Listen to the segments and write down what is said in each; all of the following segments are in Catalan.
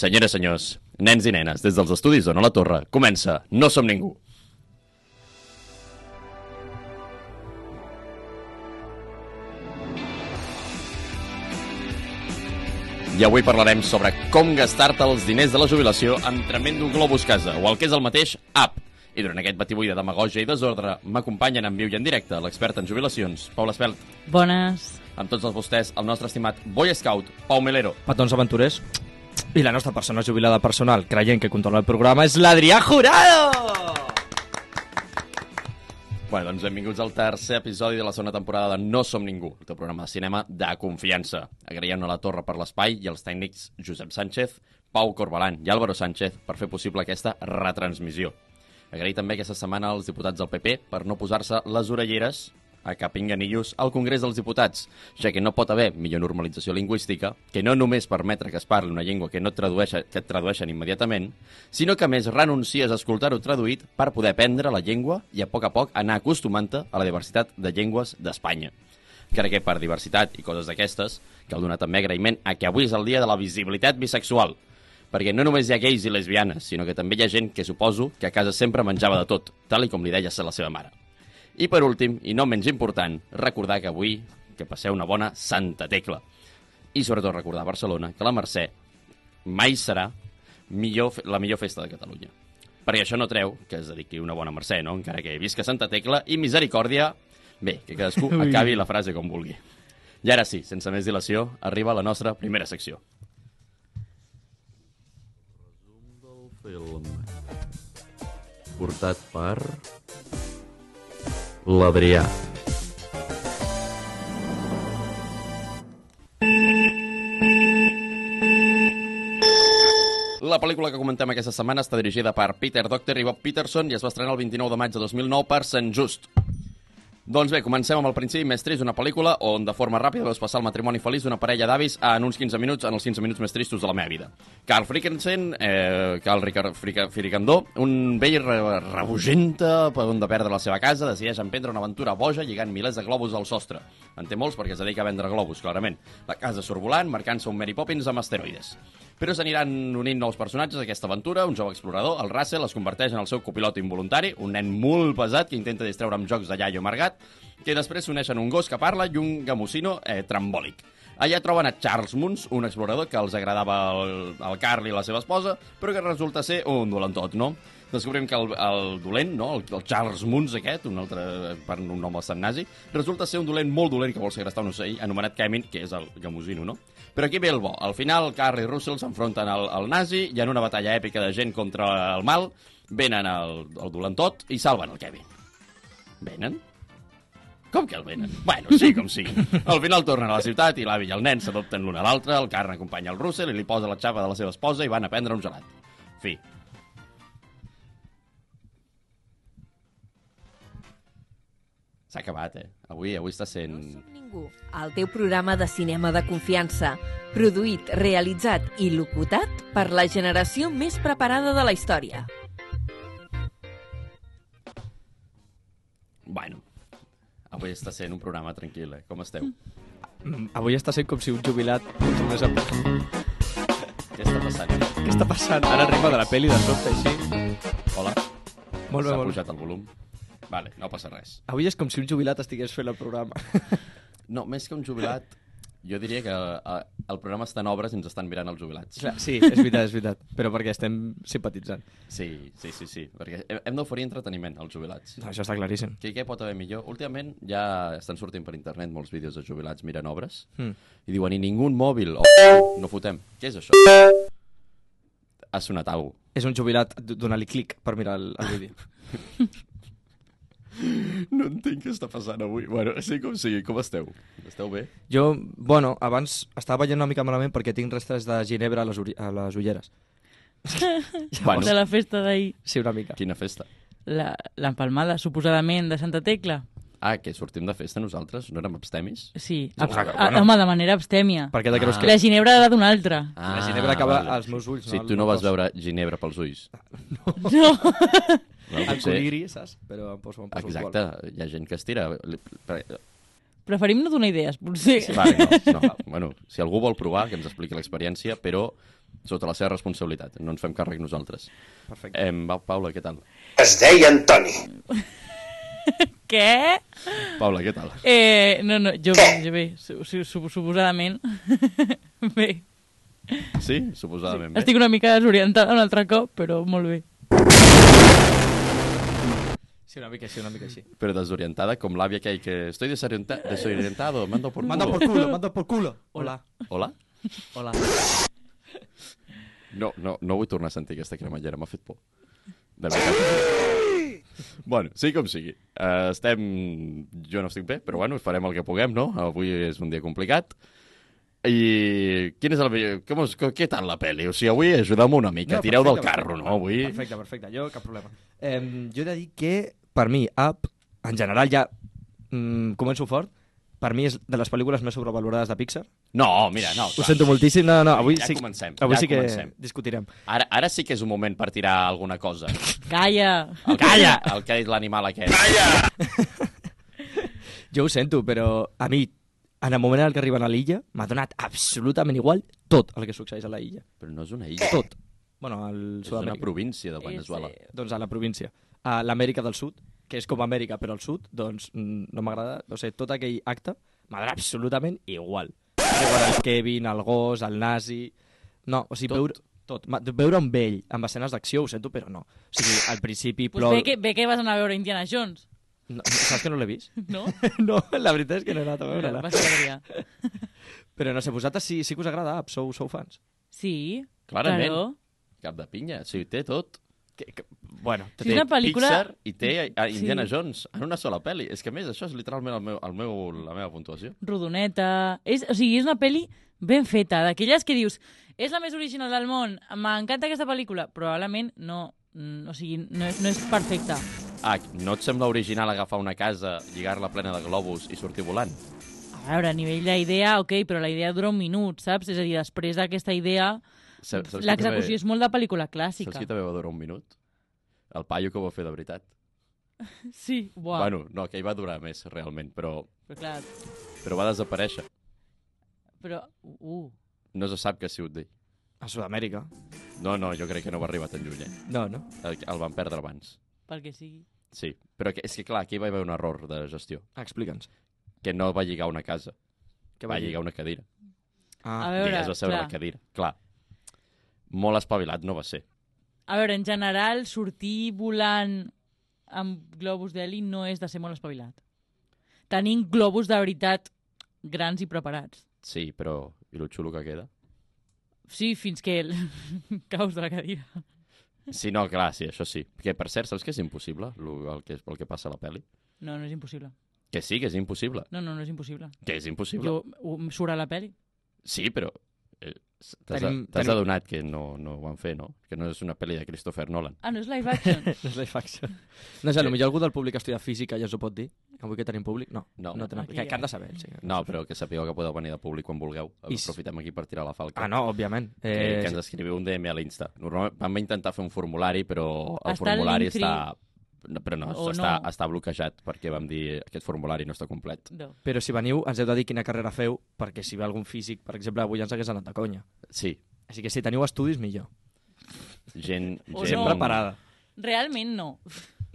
Senyores, senyors, nens i nenes, des dels estudis d'Ona la Torre, comença No som ningú. I avui parlarem sobre com gastar-te els diners de la jubilació en tremendo globus casa, o el que és el mateix, app. I durant aquest batibull de demagogia i desordre m'acompanyen en viu i en directe l'expert en jubilacions, Paula Espelt. Bones. Amb tots els vostès, el nostre estimat Boy Scout, Pau Melero. Patons aventurers. I la nostra persona jubilada personal, creient que controla el programa, és l'Adrià Jurado! Bueno, doncs benvinguts al tercer episodi de la segona temporada de No som ningú, el teu programa de cinema de confiança. Agraïm a la Torre per l'espai i als tècnics Josep Sánchez, Pau Corbalán i Álvaro Sánchez per fer possible aquesta retransmissió. Agrair també aquesta setmana als diputats del PP per no posar-se les orelleres a Capinganillos al Congrés dels Diputats, ja que no pot haver millor normalització lingüística que no només permetre que es parli una llengua que no et tradueix, que et tradueixen immediatament, sinó que a més renuncies a escoltar-ho traduït per poder aprendre la llengua i a poc a poc anar acostumant-te a la diversitat de llengües d'Espanya. Crec que per diversitat i coses d'aquestes cal donar també agraïment a que avui és el dia de la visibilitat bisexual, perquè no només hi ha gais i lesbianes, sinó que també hi ha gent que suposo que a casa sempre menjava de tot, tal i com li deia ser la seva mare. I per últim, i no menys important, recordar que avui que passeu una bona Santa Tecla. I sobretot recordar a Barcelona que la Mercè mai serà millor, fe- la millor festa de Catalunya. Perquè això no treu que es dediqui una bona Mercè, no? Encara que visca Santa Tecla i misericòrdia... Bé, que cadascú acabi la frase com vulgui. I ara sí, sense més dilació, arriba la nostra primera secció. film portat per l'Adrià. La pel·lícula que comentem aquesta setmana està dirigida per Peter Docter i Bob Peterson i es va estrenar el 29 de maig de 2009 per Sant Just. Doncs bé, comencem amb el principi més trist d'una pel·lícula on de forma ràpida veus passar el matrimoni feliç d'una parella d'avis en uns 15 minuts, en els 15 minuts més tristos de la meva vida. Carl Frickensen, eh, Carl Rica- Frica- Fricandó, un vell re rebugenta per on de perdre la seva casa, decideix emprendre una aventura boja lligant milers de globus al sostre. En té molts perquè es dedica a vendre globus, clarament. La casa sorvolant, marcant-se un Mary Poppins amb asteroides. Però s'aniran unint nous personatges a aquesta aventura. Un jove explorador, el Russell, es converteix en el seu copilot involuntari, un nen molt pesat que intenta distreure amb jocs de iaio amargat, que després s'uneixen un gos que parla i un gamusino eh, trambòlic. Allà troben a Charles Moons, un explorador que els agradava el, el Carl i la seva esposa, però que resulta ser un dolentot, no? Descobrim que el, el dolent, no? el, el Charles Moons aquest, un altre, per un nom bastant nazi, resulta ser un dolent molt dolent que vol segrestar un ocell anomenat Kemin, que és el Gamusino, no? Però aquí ve el bo. Al final, Carl i Russell s'enfronten al, al nazi i en una batalla èpica de gent contra el mal venen el, el dolentot i salven el Kevin. Venen? Com que el venen? Bueno, sí, com sí. Al final tornen a la ciutat i l'avi i el nen s'adopten l'un a l'altre, el Carn acompanya el Russell i li posa la xapa de la seva esposa i van a prendre un gelat. Fi. S'ha acabat, eh? Avui avui està sent... No som ningú. El teu programa de cinema de confiança, produït, realitzat i locutat per la generació més preparada de la història. Bueno, avui està sent un programa tranquil, eh? Com esteu? Mm, Avui està sent com si un jubilat tornés a... Què està passant? Què està passant? Ara arriba de la pel·li de sobte, així. Hola? Molt bé, S'ha molt bé. pujat el volum? Vale, no passa res. Avui és com si un jubilat estigués fent el programa. No, més que un jubilat, jo diria que eh, el programa està en obres i ens estan mirant els jubilats. Clar, sí, és veritat, és veritat. Però perquè estem simpatitzant. Sí, sí, sí, sí, perquè hem- hem d'oferir entreteniment als jubilats. No, això està claríssim. Què, què pot haver millor? Últimament ja estan sortint per internet molts vídeos de jubilats mirant obres Mm. i diuen, i ningú un mòbil, o no fotem. Què és això? Ha sonat alguna És un jubilat d- donar-li clic per mirar el, el vídeo. No entenc què està passant avui. Bueno, sí, com sigui, com esteu? Esteu bé? Jo, bueno, abans estava veient una mica malament perquè tinc restes de ginebra a les, ori- a les ulleres. Bueno. De la festa d'ahir. Sí, una mica. Quina festa. La- L'empalmada, suposadament, de Santa Tecla. Ah, que sortim de festa nosaltres? No érem abstemis? Sí, Ah, abs- bueno. a, home, de manera abstèmia. Per què te creus que... Ah. La Ginebra era d'una altra. Ah, La Ginebra acaba als meus ulls, Sí, no al tu no meu vas cos. veure Ginebra pels ulls. No. No, El potser... coliri, saps? Però em poso, em poso Exacte, hi ha gent que es tira. Li- per- Preferim no donar idees, potser. Vale, no, no. Bueno, si algú vol provar, que ens expliqui l'experiència, però sota la seva responsabilitat. No ens fem càrrec nosaltres. Perfecte. Eh, va, Paula, què tal? Es deia Antoni. Què? Paula, què tal? Eh, no, no, jo bé, jo bé, su, su, su, suposadament. bé. Sí? Suposadament. Estic una mica desorientada un altre cop, però molt bé. Sí, una mica així, una mica així. Però desorientada com l'àvia aquell que... Estoy desorienta desorientado, mando por culo. Manda por culo, manda por culo. Hola. Hola? Hola. No, no, no vull tornar a sentir aquesta cremallera, m'ha fet por. De veritat. bueno, sí com sigui. Uh, estem... Jo no estic bé, però bueno, farem el que puguem, no? Avui és un dia complicat. I quin és el... vi- Com és... Què tal la pel·li? O sigui, avui ajudem una mica. No, Tireu del carro, no? Avui... Perfecte, perfecte, jo cap problema. Eh, jo he de dir que, per mi, Up, en general ja mm, començo fort, per mi és de les pel·lícules més sobrevalorades de Pixar. No, mira, no. Ho sento moltíssim. No, no, avui Ja sí, comencem, avui ja sí que comencem. discutirem. Ara, ara sí que és un moment per tirar alguna cosa. Calla! El que, Calla! El que ha dit l'animal aquest. Jo ho sento, però a mi, en el moment en què arriben a l'illa, m'ha donat absolutament igual tot el que succeeix a la illa. Però no és una illa. Tot. Bueno, al És una Sud-amèrica. província de Venezuela. És, eh, Doncs a la província. A l'Amèrica del Sud, que és com Amèrica, però al sud, doncs mm, no m'agrada. O sigui, tot aquell acte m'ha donat absolutament igual. Veure el Kevin, el gos, el nazi... No, o sigui, tot. veure... Tot. Ma- Veure un vell amb escenes d'acció, ho sento, però no. O sigui, al principi pues plou... bé, que, bé que vas anar a veure Indiana Jones, No, saps que no l'he vist? no? no, la veritat és que no he anat a veure-la. Vas a veure ja. Però no sé, vosaltres sí, sí que us agrada Up, sou, sou fans. Sí, Clarament. Claro. Cap de pinya. O sigui, té tot. Que, que, bueno, Sí, és una pel·lícula... Mm, Pixar i té a Indiana Sí. sí. Jones en una sola pel·li. És que, a més, això és literalment el meu, el meu, la meva puntuació. rodoneta... És, o sigui, és una pel·li ben feta, d'aquelles que dius és la més original del món, m'encanta aquesta pel·lícula, probablement no, mm, o sigui, no, és- no és perfecta. Ah, no et sembla original agafar una casa, lligar-la plena de globus i sortir volant? A veure, a nivell d'idea, ok, però la idea dura un minut, saps? És a dir, després d'aquesta idea, Saps- saps qui l'execució també- és molt de pel·lícula Saps clàssica. qui també va durar un minut? El paio que ho va fer de veritat. Sí, buah. Bueno. Bueno, no, que hi va durar més, realment, però, Però, clar, però va desaparèixer. però... Uh, No se sap què ha sigut d'ell. a Sud-amèrica. No, no, jo crec que no va arribar tan lluny, eh? No, no. El, el van perdre abans. pel que sigui. Sí, però que, és que clar, aquí hi va haver un error de gestió, Ah, Explica'ns. que no va lligar una casa, Què va dir? lligar una cadira. A Ah, I veure, es va seure a clar. la cadira, clar. Molt espavilat no va ser. A veure, en general, sortir volant amb globus d'heli no és de ser molt espavilat. Tenint globus de veritat grans i preparats. Sí, però i lo xulo que queda? Sí, fins que el... caus de la cadira. Sí, no, clar, sí, això sí. Que per cert, saps que és impossible lo, el, que, el que passa a la pel·li? No, no és impossible. Que sí, que és impossible. No, no, no és impossible. Que és impossible. Jo, ho- em surt a la pel·li. Sí, però eh, s- t'has Tenim- tenim... tenim- adonat que no, no ho van fer, no? Que no és una pel·li de Christopher Nolan. Ah, no és live action. no és la faction. No sé, potser algú del públic estudia física ja us ho pot dir. Avui que tenim públic? No, No. no tenim. Aquí, Que, eh? que han de saber. Sí. No, però que sapigueu que podeu venir de públic quan vulgueu. I s- Aprofitem aquí per tirar la falca. Ah, no, òbviament. que, Eh, que ens escriviu un DM a l'Insta. Normalment vam intentar fer un formulari, però el Està el formulari Linktree. està... No, però no, O està, no. està bloquejat perquè vam dir aquest formulari no està complet. No. Però si veniu, ens heu de dir quina carrera feu, perquè si ve algun físic, per exemple, avui ens hagués anat de conya. Sí, Així que si teniu estudis, millor. gent... O gent no. Sempre parada. Realment no.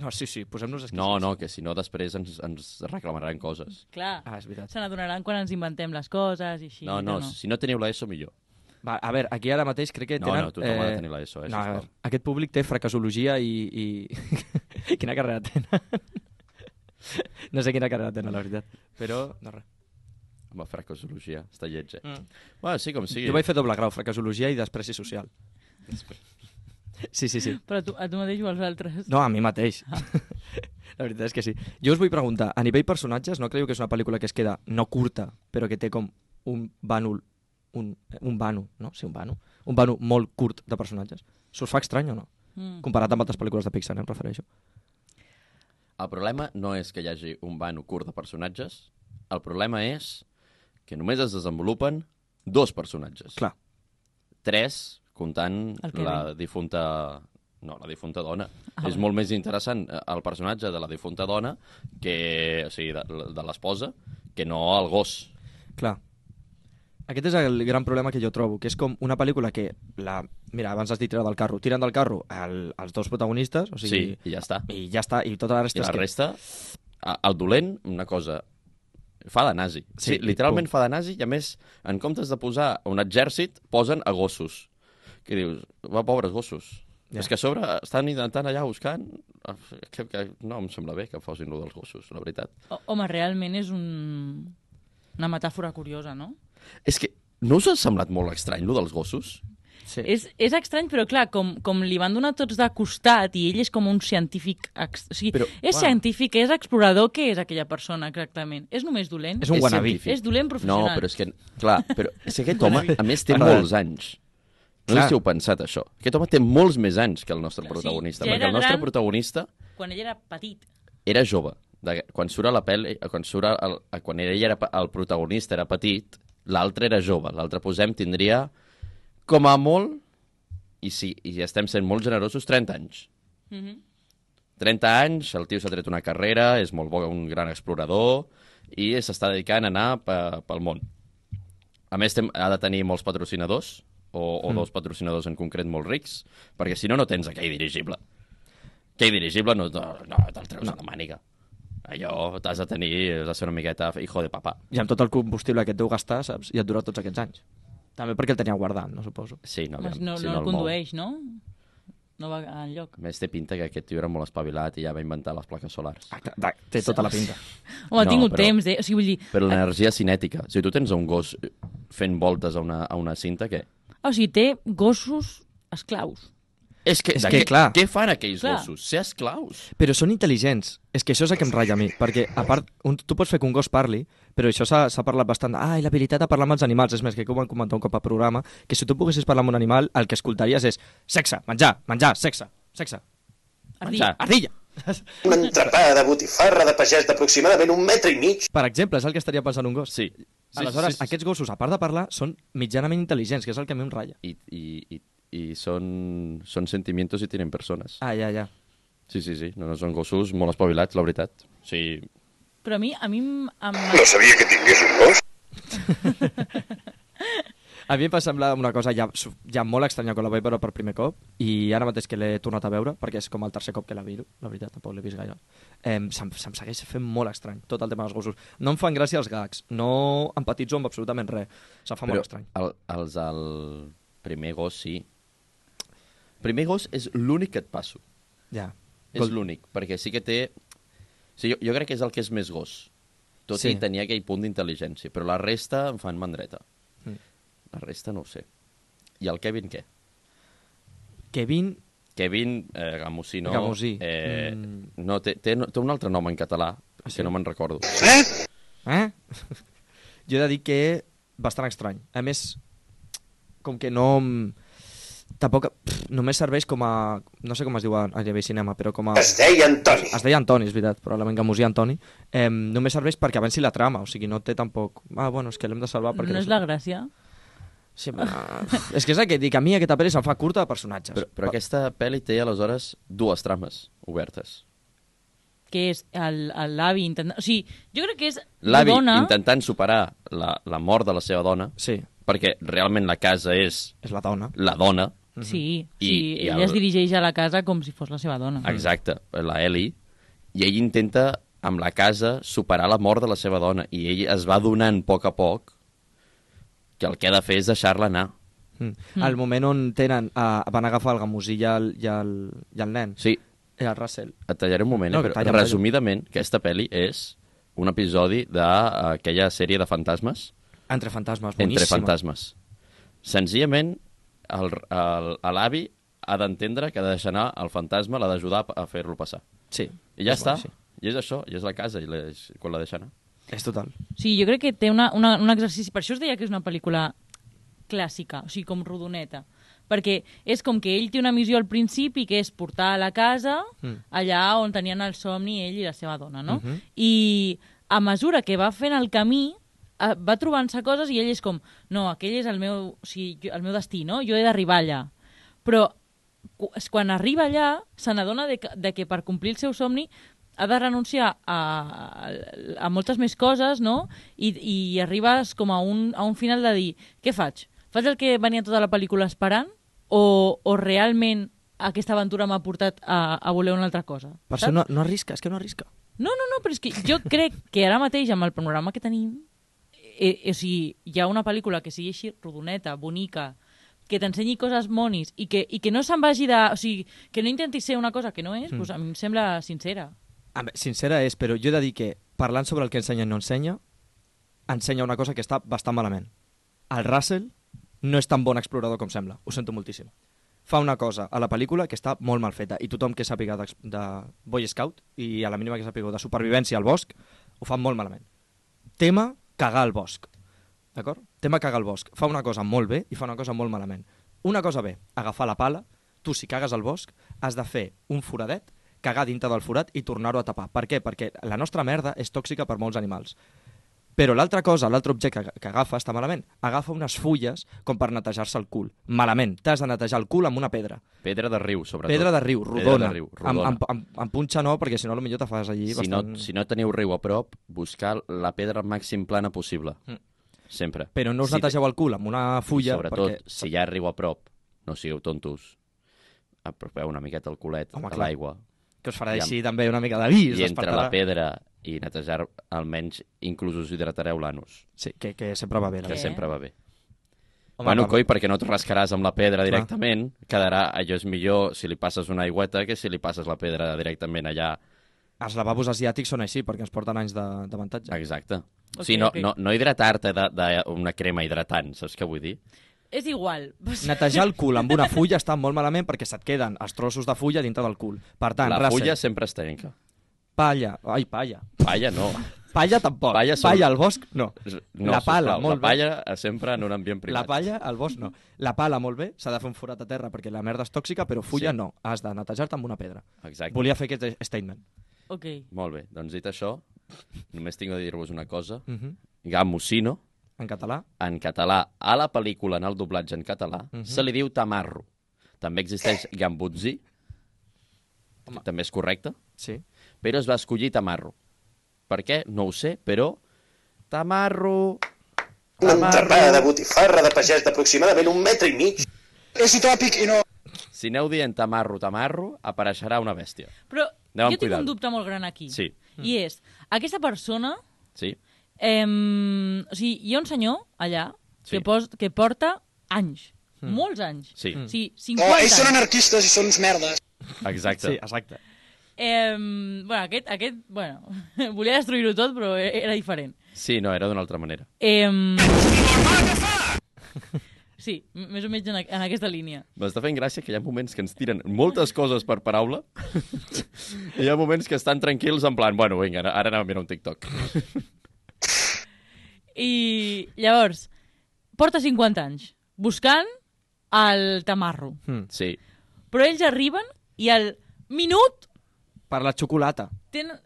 No, sí, sí, posem-nos esquís. No, no, que si no després ens, ens reclamaran coses. Clar, Ah, és veritat. se n'adonaran quan ens inventem les coses i així. No, no, si no teniu l'ESO, millor. Va, a veure, aquí ara mateix crec que No, Eh, tenen... no, tothom ha de tenir l'ESO, eh, no, a sisplau. veure, aquest públic té fracasologia i... i... quina carrera tenen? no sé quina carrera tenen, la veritat. Però, no res. Home, fracosologia, està lleig, eh? Mm. Bueno, sí, com sigui. Jo vaig fer doble grau, fracasologia i despreci social. Sí, sí, sí. Però a tu, a tu mateix o als altres. No, a mi mateix. Ah. La veritat és que sí. Jo us vull preguntar, a nivell personatges, no creieu que és una pel·lícula que es queda no curta, però que té com un bànol, un, eh, un bànol, no? Sí, un bànol. Un bànol molt curt de personatges. S'us fa estrany o no? Mm. Comparat amb altres pel·lícules de Pixar, eh, em refereixo. El problema no és que hi hagi un vano curt de personatges, el problema és que només es desenvolupen dos personatges. Clar. Tres, comptant El Kevin. la difunta... No, la difunta dona. Ah, és molt més interessant eh, el personatge de la difunta dona que... O sigui, de, de l'esposa, que no el gos. Clar. Aquest és el gran problema que jo trobo, que és com una pel·lícula que, la, mira, abans has dit tirar del carro, tiren del carro el, els dos protagonistes, o Sí, sigui, i ja està. i ja està, i tota la resta I la és que... resta, a- el dolent, una cosa, fa de nazi. Sí, Sí, sí literalment i fa de nazi i, a més, en comptes de posar un exèrcit, posen a gossos. Que dius, va, pobres gossos. Ja. Ja. És que a sobre estan intentant allà buscant... ah, Que, que no em sembla bé que fosin lo dels gossos, la veritat. O, home, realment és un... una metàfora curiosa, no? És que no us ha semblat molt estrany, lo dels gossos? Sí. És, és estrany, però clar, com, com li van donar tots de costat i ell és com un científic... Ex... O sigui, Però, però, és uau. científic, és explorador, què és aquella persona exactament? És només dolent? És un és wannabe. científic. És dolent No, professional. però és que... Clar, però és que aquest home, a més, té Perdó. molts anys. No sé Clar. si heu pensat, això. Aquest home té molts més anys que el nostre Sí, protagonista, ja era perquè el nostre gran. protagonista Quan ell era petit. era jove. De, quan surt a la pel·li, quan, surt el, quan ell era, pe- el protagonista era petit, l'altre era jove. L'altre, posem, tindria com a molt, i sí, i estem sent molt generosos, 30 anys. Mm -hmm. 30 anys, el tio s'ha tret una carrera, és molt bo, un gran explorador, i s'està dedicant a anar pe, pel món. A més, tem, ha de tenir molts patrocinadors, o, o mm. dos patrocinadors en concret molt rics, perquè si no, no tens aquell dirigible. Aquell dirigible no, no, no te'l treus no. a la màniga. Allò t'has de tenir, has de ser una miqueta hijo de papà. I amb tot el combustible que et deu gastar, saps? I et dura tots aquests anys. També perquè el tenia guardat, no suposo. Sí, no, No, aviam, no, si no, el mou. condueix, no? No va enlloc. A més, té pinta que aquest tio era molt espavilat i ja va inventar les plaques solars. Ah, clar, Té tota la pinta. Home, No, no, ha tingut però- però... temps, eh? O sigui, vull dir, Però l'energia cinètica. Si tu tens un gos fent voltes a una, a una cinta, què? o sigui, té gossos esclaus. És que, És de que, què, clar. què fan aquells clar. Clar. gossos? Ser esclaus. Però són intel·ligents. És que això és el que em ratlla a mi. Perquè, a part, un, tu pots fer que un gos parli, però això s'ha s'ha parlat bastant. Ah, i l'habilitat de parlar amb els animals. És més, que ho vam comentar un cop a programa, que si tu poguessis parlar amb un animal, el que escoltaries és sexe, menjar, menjar, sexe, sexe, Ardilla. ardilla. Un entrepà de botifarra de pagès d'aproximadament un metre i mig Per exemple, és el que estaria pensant un gos. Sí. Sí, Aleshores, sí, sí, aquests gossos, a part de parlar, són mitjanament intel·ligents, que és el que a mi em ratlla. I, i, i, i són, són sentimientos i tenen persones. Ah, ja, ja. Sí, sí, sí. No, no són gossos molt espavilats, la veritat. Sí. Però a mi, a mi em... em... No sabia que tingués un gos. A mi em va semblar una cosa ja, su- ja molt estranya quan la vaig veure per primer cop i ara mateix que l'he tornat a veure, perquè és com el tercer cop que la veure, la veritat, tampoc l'he vist gaire, eh, se'm, se'm segueix fent molt estrany tot el tema dels gossos. No em fan gràcia els gags, no empatitzo amb absolutament res, se'm fa Però... molt estrany. El, els del primer gos, sí. Primer gos és l'únic que et passo. Ja. És l'únic, perquè sí que té... Sí, jo, jo crec que és el que és més gos. Tot sí. i Sí. tenia aquell punt d'intel·ligència. Però la resta em fan mandreta. Mm. La resta no ho sé. I el Kevin, què? Kevin, Kevin eh, Gamusino... Gamusí. Eh, Mm. mm. No, té, té, té un altre nom en català, ah, sí? que no me'n recordo. Eh? eh? jo he de dir que bastant estrany. A més, com que no... em- Tampoc... Pff, només serveix com a... No sé com es diu a, a nivell cinema, però com a... Es deia Antoni. Es deia Antoni, és veritat, probablement Gamusí Antoni. Eh, només serveix perquè avanci la trama, o sigui, no té tampoc... Ah, bueno, és que l'hem de salvar perquè... No és la gràcia. Sí, però... és que és el que dic, a mi aquesta pel·li se'm fa curta de personatges. Però, però aquesta pel·li té, aleshores, dues trames obertes. que és el- el- l'avi intentant... O sigui, jo crec que és la L'avi dona... intentant superar la, la mort de la seva dona, Sí, perquè realment la casa és és la dona. la dona, Sí, I- sí i ella el- es dirigeix a la casa com si fos la seva dona. exacte, la Ellie, i ell intenta, amb la casa, superar la mort de la seva dona, i ell es va donant a poc a poc que el que ha de fer és deixar-la anar. Mm. El moment on tenen, uh, van agafar el Gamusí i el, i el, i el nen. Sí, I el Russell. et tallaré un moment, No, no, que però talla, talla, talla. resumidament, aquesta pel·li és un episodi d'aquella sèrie de fantasmes, Entre fantasmes, boníssima. entre fantasmes. Senzillament, el- el- a l'avi ha d'entendre que ha de deixar anar el fantasma, l'ha d'ajudar a fer-lo passar. Sí. I ja és està. boníssim. I és això, i és la casa, i la- és quan la deixa anar. És total. Sí, jo crec que té una, una, un exercici... Per això us deia que és una pel·lícula clàssica, o sigui, com rodoneta. Perquè és com que ell té una missió al principi, que és portar a la casa Mm. allà on tenien el somni ell i la seva dona, no? I a mesura que va fent el camí, eh, va trobant-se coses i ell és com, no, aquell és el meu, o sigui, jo, el meu destí, no? Jo he d'arribar allà. Però cu- quan arriba allà, se n'adona de, que- de que per complir el seu somni ha de renunciar a, a moltes més coses, no? I, i arribes com a un, a un final de dir, què faig? Faig el que venia tota la pel·lícula esperant o, o realment aquesta aventura m'ha portat a, a voler una altra cosa? Per saps? això no, no arrisca, és que no arrisca. No, no, no, però és que jo crec que ara mateix amb el panorama que tenim, eh, eh, o sigui, hi ha una pel·lícula que sigui així rodoneta, bonica, que t'ensenyi coses monis i que, i que no se'n vagi de... O sigui, que no intentis ser una cosa que no és, mm. doncs a mi em sembla sincera. A veure, sincera és, però jo he de dir que parlant sobre el que ensenya i no ensenya, ensenya una cosa que està bastant malament. El Russell no és tan bon explorador com sembla, ho sento moltíssim. Fa una cosa a la pel·lícula que està molt mal feta i tothom que sàpiga de, de Boy Scout i a la mínima que sàpiga de supervivència al bosc ho fa molt malament. Tema, cagar al bosc. D'acord? Tema, cagar al bosc. Fa una cosa molt bé i fa una cosa molt malament. Una cosa bé, agafar la pala, tu si cagues al bosc has de fer un foradet, cagar dintre del forat i tornar-ho a tapar. Per què? Perquè la nostra merda és tòxica per molts animals. Però l'altra cosa, l'altre objecte que, que agafa està malament. Agafa unes fulles com per netejar-se el cul. Malament. T'has de netejar el cul amb una pedra. Pedra de riu, sobretot. Pedra de riu, Pedra rodona. de riu, rodona. Amb, amb, amb, amb punxa no, perquè si no potser te fas allí si, bastant... no, si no teniu riu a prop, buscar la pedra màxim plana possible. Mm. Sempre. Però no us Si- netegeu el cul amb una I fulla sobretot, perquè... si hi ha riu a prop, no sigueu tontos. Apropeu una miqueta el culet Home, a clar. l'aigua que us farà i amb- així també una mica d'avís. i entre despertarà. la pedra i netejar almenys inclús us hidratareu l'anus, Sí, que, que sempre va bé. la que Què? veritat. sempre va bé. Home, bueno, va- coi, perquè no et rascaràs amb la pedra Clar. directament, quedarà, allò és millor si li passes una aigüeta que si li passes la pedra directament allà. Els lavabos asiàtics són així perquè ens porten anys de- d'avantatge. Exacte. Okay, o Ok, sigui, no, ok. no, no hidratar-te d'una crema hidratant, saps què vull dir? És igual. Netejar el cul amb una fulla està molt malament perquè se't queden els trossos de fulla dintre del cul. Per tant, la Russell, fulla sempre es trenca. palla... Ai, palla. Palla no. Palla tampoc. Palla Palla, sol- palla al bosc, no. no la pala, sisplau, molt la bé. palla eh, sempre en un ambient privat. La palla al bosc, no. La pala, molt bé, s'ha de fer un forat a terra perquè la merda és tòxica, però fulla Sí. no. Has de netejar-te amb una pedra. Exacte. Volia fer aquest statement. Ok. Molt bé, doncs dit això, només tinc de dir-vos una cosa. Uh -huh. Gamusino, En català? en català, a la pel·lícula, en el doblatge en català, se li diu tamarro. També existeix gambutzi, que també és correcte, Sí. però es va escollir tamarro. Per què? No ho sé, però... Tamarro! Una entrapada de Tamarro! botifarra de pagès d'aproximadament un metre i mig. És utòpic i no... Si aneu dient tamarro, tamarro, apareixerà una bèstia. Però Anem amb jo tinc cuidado. un dubte molt gran aquí. Sí. Mm. I és, aquesta persona Sí? Em, o sigui, hi ha un senyor allà Sí. Mm. que, pos, que porta anys, molts anys. Sí. O sigui, Oh, 50 ells són anys. anarquistes i són uns merdes. Exacte. Sí, exacte. Em, bueno, aquest, aquest, bueno, volia destruir-ho tot, però e- era diferent. Sí, no, era d'una altra manera. Em... Sí, m- més o menys en, a- en aquesta línia. M'està fent gràcia que hi ha moments que ens tiren moltes coses per paraula i hi ha moments que estan tranquils en plan, bueno, vinga, ara- ara anem a mirar un TikTok. I llavors, porta 50 anys buscant el tamarro. Sí. Però ells arriben i al minut Per la xocolata. tenen...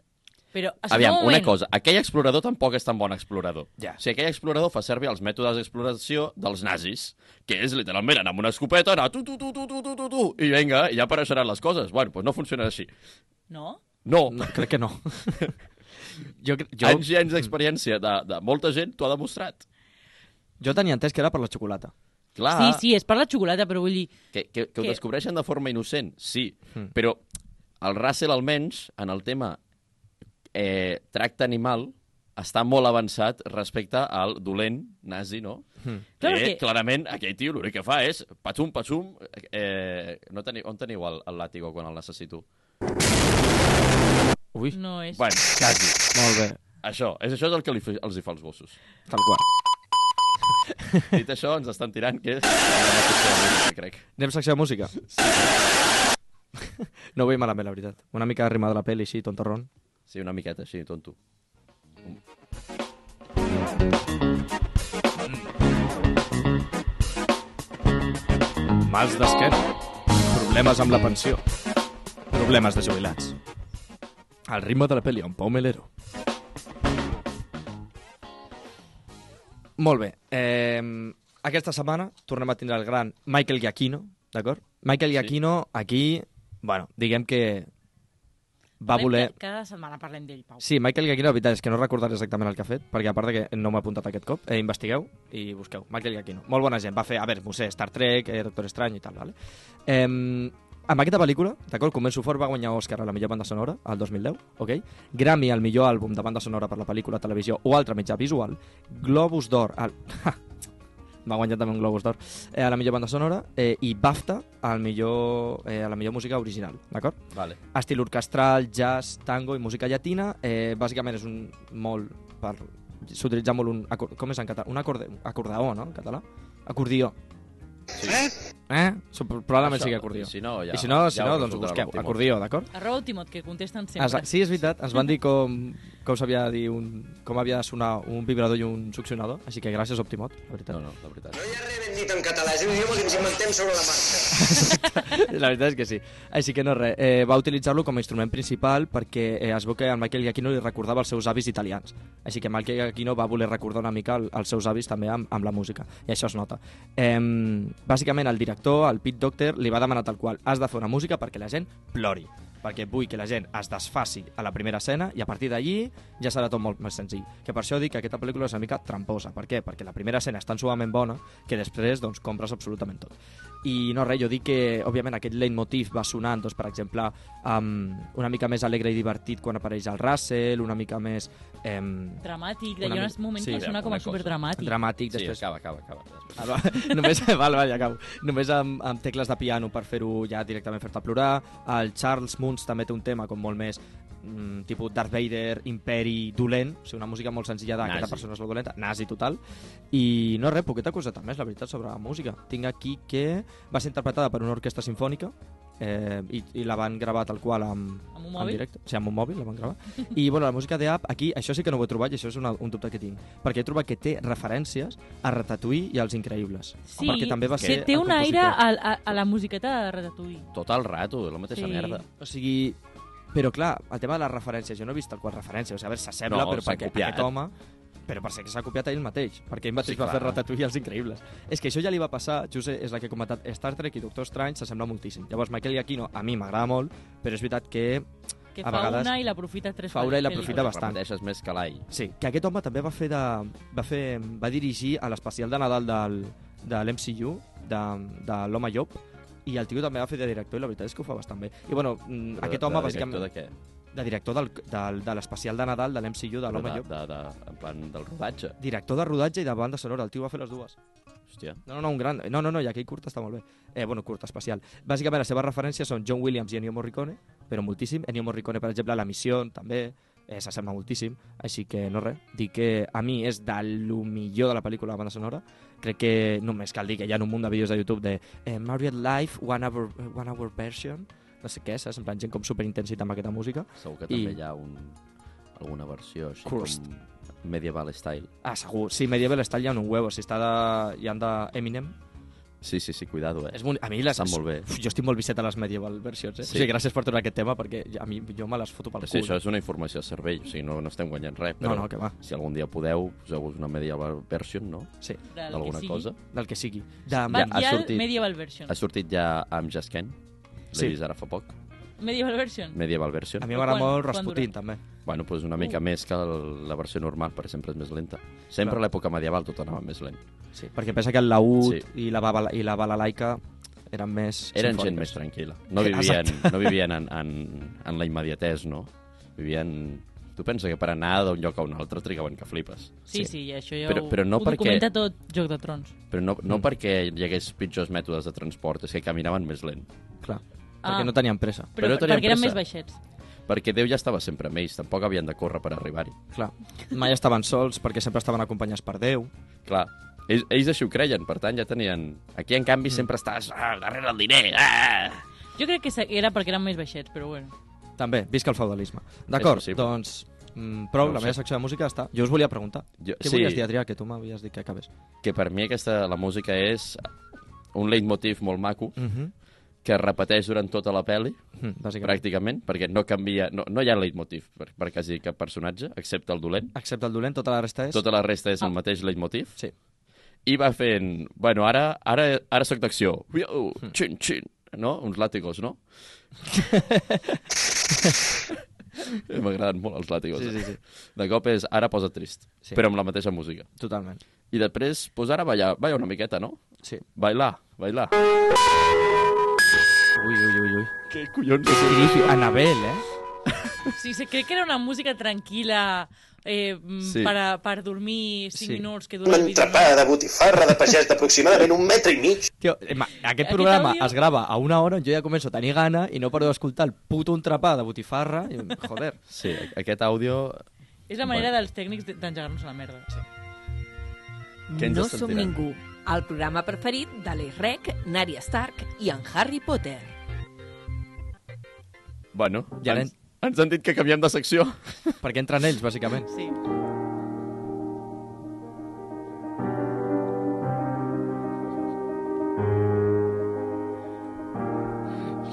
Però, espera un Aviam, una moment. cosa, aquell explorador tampoc és tan bon explorador. Ja. O sigui, aquell explorador fa servir els mètodes d'exploració dels nazis, que és literalment anar amb una escopeta, anar tu, tu, tu, tu, tu, tu, tu, tu, i vinga, i ja apareixeran les coses. Bueno, doncs no funciona així. No? No, No, crec que no. jo, cre- jo... Oh. anys jo, i anys d'experiència de, de molta gent t'ho ha demostrat. jo tenia entès que era per la xocolata. Clar, Sí, sí, és per la xocolata, però vull dir... Que, que, que ho Que- descobreixen de forma innocent, sí. Però el Russell, almenys, en el tema eh, tracte animal, està molt avançat respecte al dolent nazi, no? Mm. Que, Clar, perquè- clarament, aquell tio l'únic que fa és patum, patum... Eh, no teniu, on teniu el, el làtigo quan el necessito? Ui, No és... Bueno, quasi. Mm. molt bé. Això, és això és el que li, fe- els hi fa als gossos. Tal qual. Dit això, ens estan tirant, que és... la mateixa música, crec. Anem a secció de música? Sí. No ho veig malament, la veritat. Una mica rimada la pel·li, així, tontorrón. Sí, una miqueta així, tonto. Mals d'esquena. Problemes amb la pensió. Problemes de jubilats. El ritme de la pel·li, un Pau Melero. Molt bé. Eh, aquesta setmana tornem a tindre el gran Michael Giacchino, d'acord? Michael Giacchino, aquí, bueno, diguem que va voler... Cada, cada setmana parlem d'ell, Pau. Sí, Michael Giacchino, la veritat és que no recordaré exactament el que ha fet, perquè a part de que no m'ha apuntat aquest cop, eh, investigueu i busqueu. Michael Giacchino, molt bona gent. Va fer, a veure, no sé, Star Trek, eh, Doctor Strange i tal, vale? Eh, amb aquesta pel·lícula, d'acord, començo fort, va guanyar Òscar a la millor banda sonora, al 2010, ok? Grammy al millor àlbum de banda sonora per la pel·lícula, televisió o altre mitjà visual. Globus d'Or al... va guanyar també un Globus d'Or eh, a la millor banda sonora eh, i BAFTA al millor, eh, a la millor música original, d'acord? Vale. estil orquestral, jazz, tango i música llatina. Eh, bàsicament és un molt per s'utilitza molt un acor- com és en català? Un acorde, acordeó, no? En català. Acordió. Sí. Eh? So, probablement Això, sigui acordió. i si no, ja- I si no, si ja ho no doncs ho resoldrà busqueu. l'Optimot. Acordió, d'acord? Arroba Timot, que contesten Es, sempre. sí, és veritat, ens van dir com, com s'havia de dir un, com havia de sonar un vibrador i un succionador, així que gràcies Optimot, la veritat. No, no, la veritat. No hi ha res ben dit en català, és un idioma que ens inventem sobre la marxa. La veritat és que sí. Així que no res, eh, va utilitzar-lo com a instrument principal perquè eh, es veu que al Michael Giacchino li recordava els seus avis italians. Així que Michael Giacchino va voler recordar una mica el, els seus avis també amb, amb la música. I això es nota. Eh, bàsicament, el director, el Pete Docter, li va demanar tal qual. Has de fer una música perquè la gent plori perquè vull que la gent es desfaci a la primera escena i a partir d'allí ja serà tot molt més senzill. Que per això dic que aquesta pel·lícula és una mica tramposa. Per què? Perquè la primera escena és tan suament bona que després doncs, compres absolutament tot. I no res, jo dic que, òbviament, aquest leitmotiv va sonant, doncs, per exemple, um, una mica més alegre i divertit quan apareix el Russell, una mica més... Um, Dramàtic, Una hi ha mi- uns moments sí, que sona com una a cosa. superdramàtic. dramàtic, Sí, després acaba, acaba, acaba. Ah, va. Només, val, val, ja acabo. Només amb, amb tecles de piano per fer-ho ja directament fer-te plorar. El Charles Munz també té un tema com molt més mm, tipus Darth Vader, imperi, dolent, o sigui, una música molt senzilla Nazi. d'aquesta persona és la dolenta, nazi total, i no res, poqueta coseta més, la veritat, sobre la música. Tinc aquí que va ser interpretada per una orquestra sinfònica, eh, i, i la van gravar tal qual amb, Amb un en mòbil? directe. Sí, amb un mòbil la van gravar. I bueno, la música d'App, aquí, això sí que no ho he trobat i això és una, un dubte que tinc, perquè he trobat que té referències a Ratatouille i als Increïbles. Sí, perquè també va sí, ser té el un aire compositor. a, a, a la musiqueta de Ratatouille. Tot el rato, la mateixa Sí. merda. O sigui, però clar, el tema de les referències, jo no he vist tal qual referència, o sigui, a veure, s'assembla, No, no, però s'ha perquè copiat. aquest home però per ser que s'ha copiat a ell mateix, perquè ell mateix Sí, va clar. fer Ratatouille i els Increïbles. És que això ja li va passar, José, és la que he comentat, Star Trek i Doctor Strange s'assembla moltíssim. Llavors, Michael Giacchino a mi m'agrada molt, però és veritat que Que A fa vegades- una i l'aprofita tres fa una i pel·lícules. l'aprofita bastant. Repeteixes més que l'ai. Sí, que aquest home també va fer de... Va, fer, va dirigir a l'especial de Nadal del, de l'MCU, de, de l'home llop, i el tio també va fer de director i la veritat és que ho fa bastant bé. I bueno, mm, aquest home, de, bàsicament, De què? de... director del, del, de l'especial de Nadal de l'MCU, de Però l'home de, llop. de, de, en plan del rodatge. Director de rodatge i de banda sonora, el tio va fer les dues. Hòstia. No, no, no, un gran... No, no, no, i aquell curt està molt bé. Eh, bueno, curt, especial. Bàsicament, les seves referències són John Williams i Ennio Morricone, però moltíssim. Ennio Morricone, per exemple, a La Missió, també, eh, s'assembla moltíssim. Així que, no res, dir que a mi és de lo millor de la pel·lícula de banda sonora. Crec que només cal dir que hi ha un munt de vídeos de YouTube de eh, Marriott Life, One Hour, one hour Version, no sé què, saps? En plan, gent com superintensitat amb aquesta música. Segur que I- també hi ha un, alguna versió així Cursed. com medieval style. Ah, segur. Sí, Medieval Style hi ha un huevo. Si està de... hi ha de Eminem, Sí, sí, sí, cuidado, eh? És boni... A mi les... Estan molt bé. Uf, jo estic molt viciat a les medieval versions, eh? Sí. Sí. O sigui, gràcies per tornar aquest tema, perquè a mi jo me les foto pel Sí, cul. això és una informació de cervell, o sigui, no, no estem guanyant res, però No, no, que va. si algun dia podeu, poseu-vos una medieval version, no?, Sí, Del que d'alguna sigui. cosa. del que sigui. De... Va, Ja, ha hi ha sortit. el Medieval Version. Ha sortit ja amb Jasken, l'he Sí. vist ara fa poc, Medieval Version. medieval version. A mi m'agrada Quan- molt quan Rasputin, dura? també. Bueno, doncs una mica més que el- la versió normal, per sempre és més lenta. Sempre a Clar. l'època medieval tot anava més lent. Sí, perquè pensa que el laúd Sí. sí. i, la bala, i la balalaica eren més Eren simfòniques. gent més tranquil·la. No vivien, Eh, Exacte. no vivien en, en, en la immediatesa, no? Vivien... Tu pensa que per anar d'un lloc a un altre trigaven que flipes. Sí, Sí. sí, i això ja Però- ho, però no ho perquè- documenta tot Joc de Trons. Però no, no Mm. perquè hi hagués pitjors mètodes de transport, és que caminaven més lent. Clar, Ah. perquè no tenien pressa. Però, no tenien perquè eren pressa. més baixets. Perquè Déu ja estava sempre amb ells, tampoc havien de córrer per arribar-hi. Clar, mai estaven sols perquè sempre estaven acompanyats per Déu. Clar, ells, ells així ho creien, per tant ja tenien... Aquí, en canvi, sempre estàs ah, darrere el diner. Ah! Jo crec que se- era perquè eren més baixets, però bueno. També, visca el feudalisme. D'acord, possible. doncs mm, prou, No ho la sé. meva secció de música està. Jo us volia preguntar. Jo- Què sí. volies dir, Adrià, que tu m'havies dit que acabés? Que per mi aquesta, la música és un leitmotiv molt maco Mm -hmm. que es repeteix durant tota la pel·li, mm, bàsicament. pràcticament, perquè no canvia, no, no hi ha leitmotiv per, per quasi cap personatge, excepte el dolent. Excepte el dolent, tota la resta és... Tota la resta és el mateix leitmotiv. Sí. I va fent, bueno, ara, ara, ara sóc d'acció. Uiau, Xin, xin, no? Uns làtigos, no? M'agraden molt els làtigos. Sí, sí, sí. De cop és ara posa trist, Sí. sí. però amb la mateixa música. Totalment. I després, pues ara ballar, balla una miqueta, no? Sí. Bailar, bailar. Ui, ui, ui, ui. Què collons és Sí, sí, Anabel, eh? Sí, sí, crec que era una música tranquil·la eh, sí. Sí. per, a, per dormir 5 Sí. sí. minuts que Un dura el vídeo. entrepà de botifarra de pagès d'aproximadament un metre i mig. Tio, eh, ma- aquest Aquest programa àudio- es grava a una hora on jo ja començo a tenir gana i no paro d'escoltar el puto entrepà de botifarra. I, joder. Sí, aquest àudio... És la manera Bueno. dels tècnics de- d'engegar-nos a la merda. Sí. Què ens No estan som tirant? ningú, el programa preferit de l'Eix Rec, Nària Stark i en Harry Potter. Bueno, Ja ens, ens han dit que canviem de secció. Perquè entren ells, bàsicament. sí.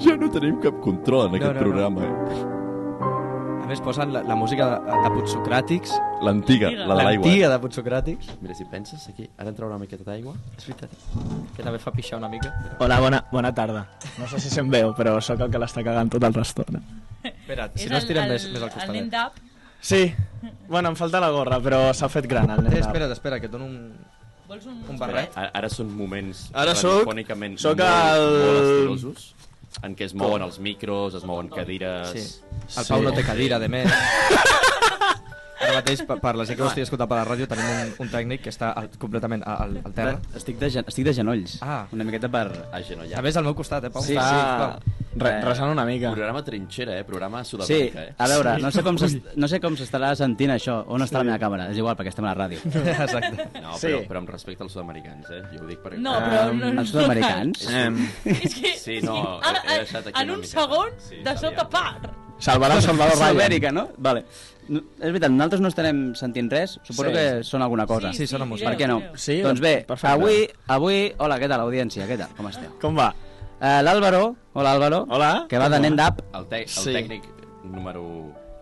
Ja no tenim cap control en No, aquest no, no. programa. eh? No. A més, posen la, la música de, de Putsocràtics, L'antiga, L'antiga. la de l'aigua. eh? l'antiga de Putsocràtics, Mira, si penses aquí, ara entra una miqueta d'aigua. és veritat, que també fa pixar una mica. Hola, bona, bona tarda. No sé si se'n veu, però sóc el que l'està cagant tota tot el restaurant. Espera't, si no es tiren més, més El nen al eh? eh? costadet. d'Up, Sí. Bueno, em falta la gorra, però s'ha fet gran el nen. Eh, espera't, espera, que et dono un... vols un, Un barret? Ara, ara són moments Ara soc- radiofònicament soc molt, el- molt estilosos, en què es mouen els micros, es mouen cadires... Sí. El Sí. Pau no té cadira, de més. Ara mateix, per, per la gent que ho estigui escoltant per la ràdio, tenim un, un tècnic que està al, completament a- al, al terra. Estic de, gen- estic de genolls. Ah. Una miqueta per... Agenollat. També és al meu costat, eh, Pau? Sí, Està re resant una mica. Programa trinxera, eh? Programa Sí, sud-amèrica, eh? a veure, no sé com s'est- no sé com s'estarà sentint això, on està la meva càmera, és igual, perquè estem a la ràdio. Exacte. No, Sí. però, però amb respecte als sud-americans, eh? Jo ho dic perquè... No, però Em- no, no, um, Els sud-americans? Em, És que, Sí, no, ara, eh, he- he deixat aquí en una un mica. segon, Sí, de sabia. sobte, pa! Salvarà el Salvador Ryan. Sud-amèrica, no? eh? Vale. No, és veritat, nosaltres no estarem sentint res, suposo Sí. que són alguna cosa. sí, sona música. Per què no? Sí, doncs bé, perfecte. avui, avui... Hola, què tal, audiència? Què tal? Com esteu? Com va? Eh, L'Àlvaro, hola Álvaro, Hola. que va de nen d'app, El, te el Sí. tècnic número...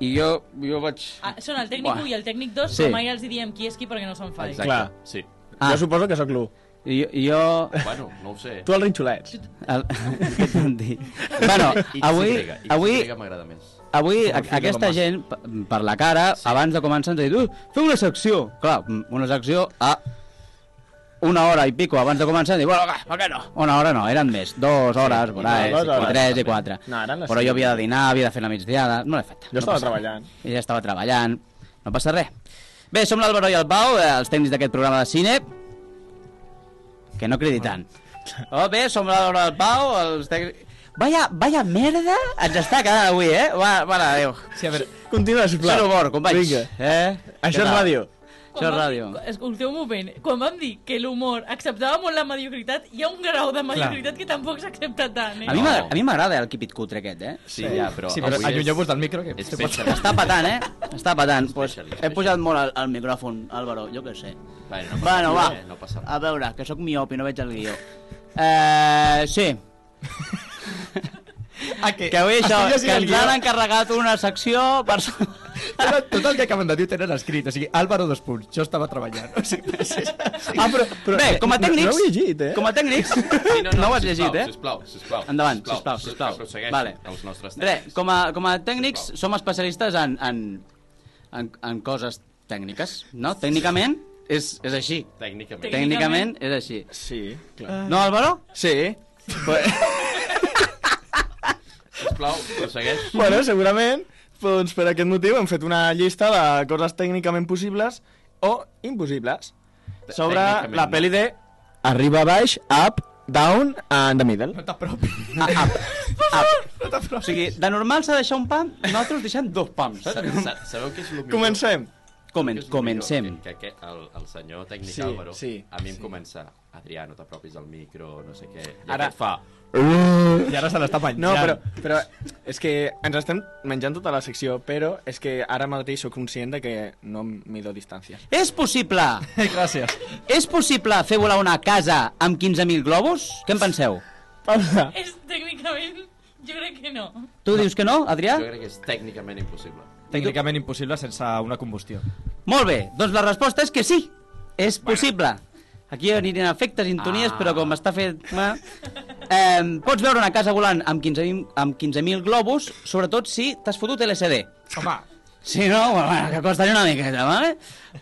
i jo, jo vaig... Ah, són el tècnic 1 i el tècnic 2, Sí. però mai els hi diem qui és qui perquè no se'n fa. Exacte, Clar. sí. Ah. Jo suposo que sóc l'1. I, jo- i jo Bueno, no ho sé. Tu el rinxolets. El... Què t'han dit? bueno, avui, XY, avui, XY m'agrada més. avui Com el a, fill de aquesta Elon Musk. gent, p- per la cara, sí. abans de començar ens ha dit "Uh, feu una secció. Clar, m- una secció a una hora i pico abans de començar, diu, bueno, va, per què no? Una hora no, eren més, dues hores, sí, i i, dues hores, tres també. i quatre. No, eren les Però cinc. jo havia de dinar, havia de fer la migdiada, no l'he fet. Jo no estava passa res. treballant. Ella estava treballant, no passa res. Bé, som l'Àlvaro i el Pau, eh, els tècnics d'aquest programa de cine, que no cridi tant. Oh, bé, som l'Àlvaro i el Pau, els tècnics... Vaya, vaya merda ens està quedant avui, eh? Va, mare de Déu. Sí, a veure, Continua, sisplau. Sent humor, companys. Vinga. Eh? Això és ràdio. Això és ràdio. Escolteu un moment, quan vam dir que l'humor acceptava molt la mediocritat, hi ha un grau de mediocritat que tampoc s'accepta tant, eh? A mi m'agra- No. a mi m'agrada el quipit cutre aquest, eh? Sí, ja, però... sí, però avui allunyeu-vos del micro, que És se pot... especial. Està patant, eh? Està patant. Pues, Especialista, he pujat molt al, al micròfon, Álvaro, jo què sé. Bueno, no passa Bueno, va, Ah, res, eh? No passa a veure, que sóc miop i no veig el guió. Eh, sí, Ah, que, que avui això, Estudies i que el ens guió. han encarregat una secció per... Però Tot el que acaben de dir ho tenen escrit, o sigui, Álvaro dos punts, jo estava treballant. O sigui, ah, però... Però, Bé, com a no- no tècnics... ho he llegit, eh? Com a tècnics... Sí, no ho has llegit, eh? Sisplau, sisplau. Endavant, sisplau, sisplau. Que prossegueixin Vale. els nostres Re, tècnics. com a, com a tècnics Sisplau. som especialistes en, en, en, en coses tècniques, no? Tècnicament és, és així. Tècnicament. Tècnic. Tècnicament és així. Sí, clar. No, Álvaro? Sí. Sisplau, prossegueix. Bueno, segurament, doncs per aquest motiu hem fet una llista de coses tècnicament possibles o impossibles sobre Tècnicament, la no. pel·li de Arriba baix, up, down and the middle. Ah, up. up. O sigui, de normal s'ha de deixar un pam, nosaltres deixem dos pams. Sa- saps? sa- Sabeu què és el millor? Comencem. Comen, Què és lo comencem. millor? Que, que, que el, el senyor tècnic Sí, Álvaro, sí, a mi em sí. comença, Adrià, no t'apropis al micro, no sé què. I Ara- Ara... fa... I ara se l'està penjant. No, però, però és que ens estem menjant tota la secció, però és que ara mateix sóc conscient de que no mido distàncies. És possible, Gràcies. és possible fer volar una casa amb 15.000 globus? Què en penseu? Paula, És tècnicament, jo crec que no. Tu dius que no, Adrià? Jo crec que és tècnicament impossible. Tècnicament impossible sense una combustió. Molt bé, doncs la resposta és que sí, és possible. Aquí anirien efectes, intonies, Ah. però com està fet... Bueno, Eh, pots veure una casa volant amb 15.000 amb 15 globus, sobretot si t'has fotut LCD. Home, Si no, bueno, que costaria una miqueta, vale?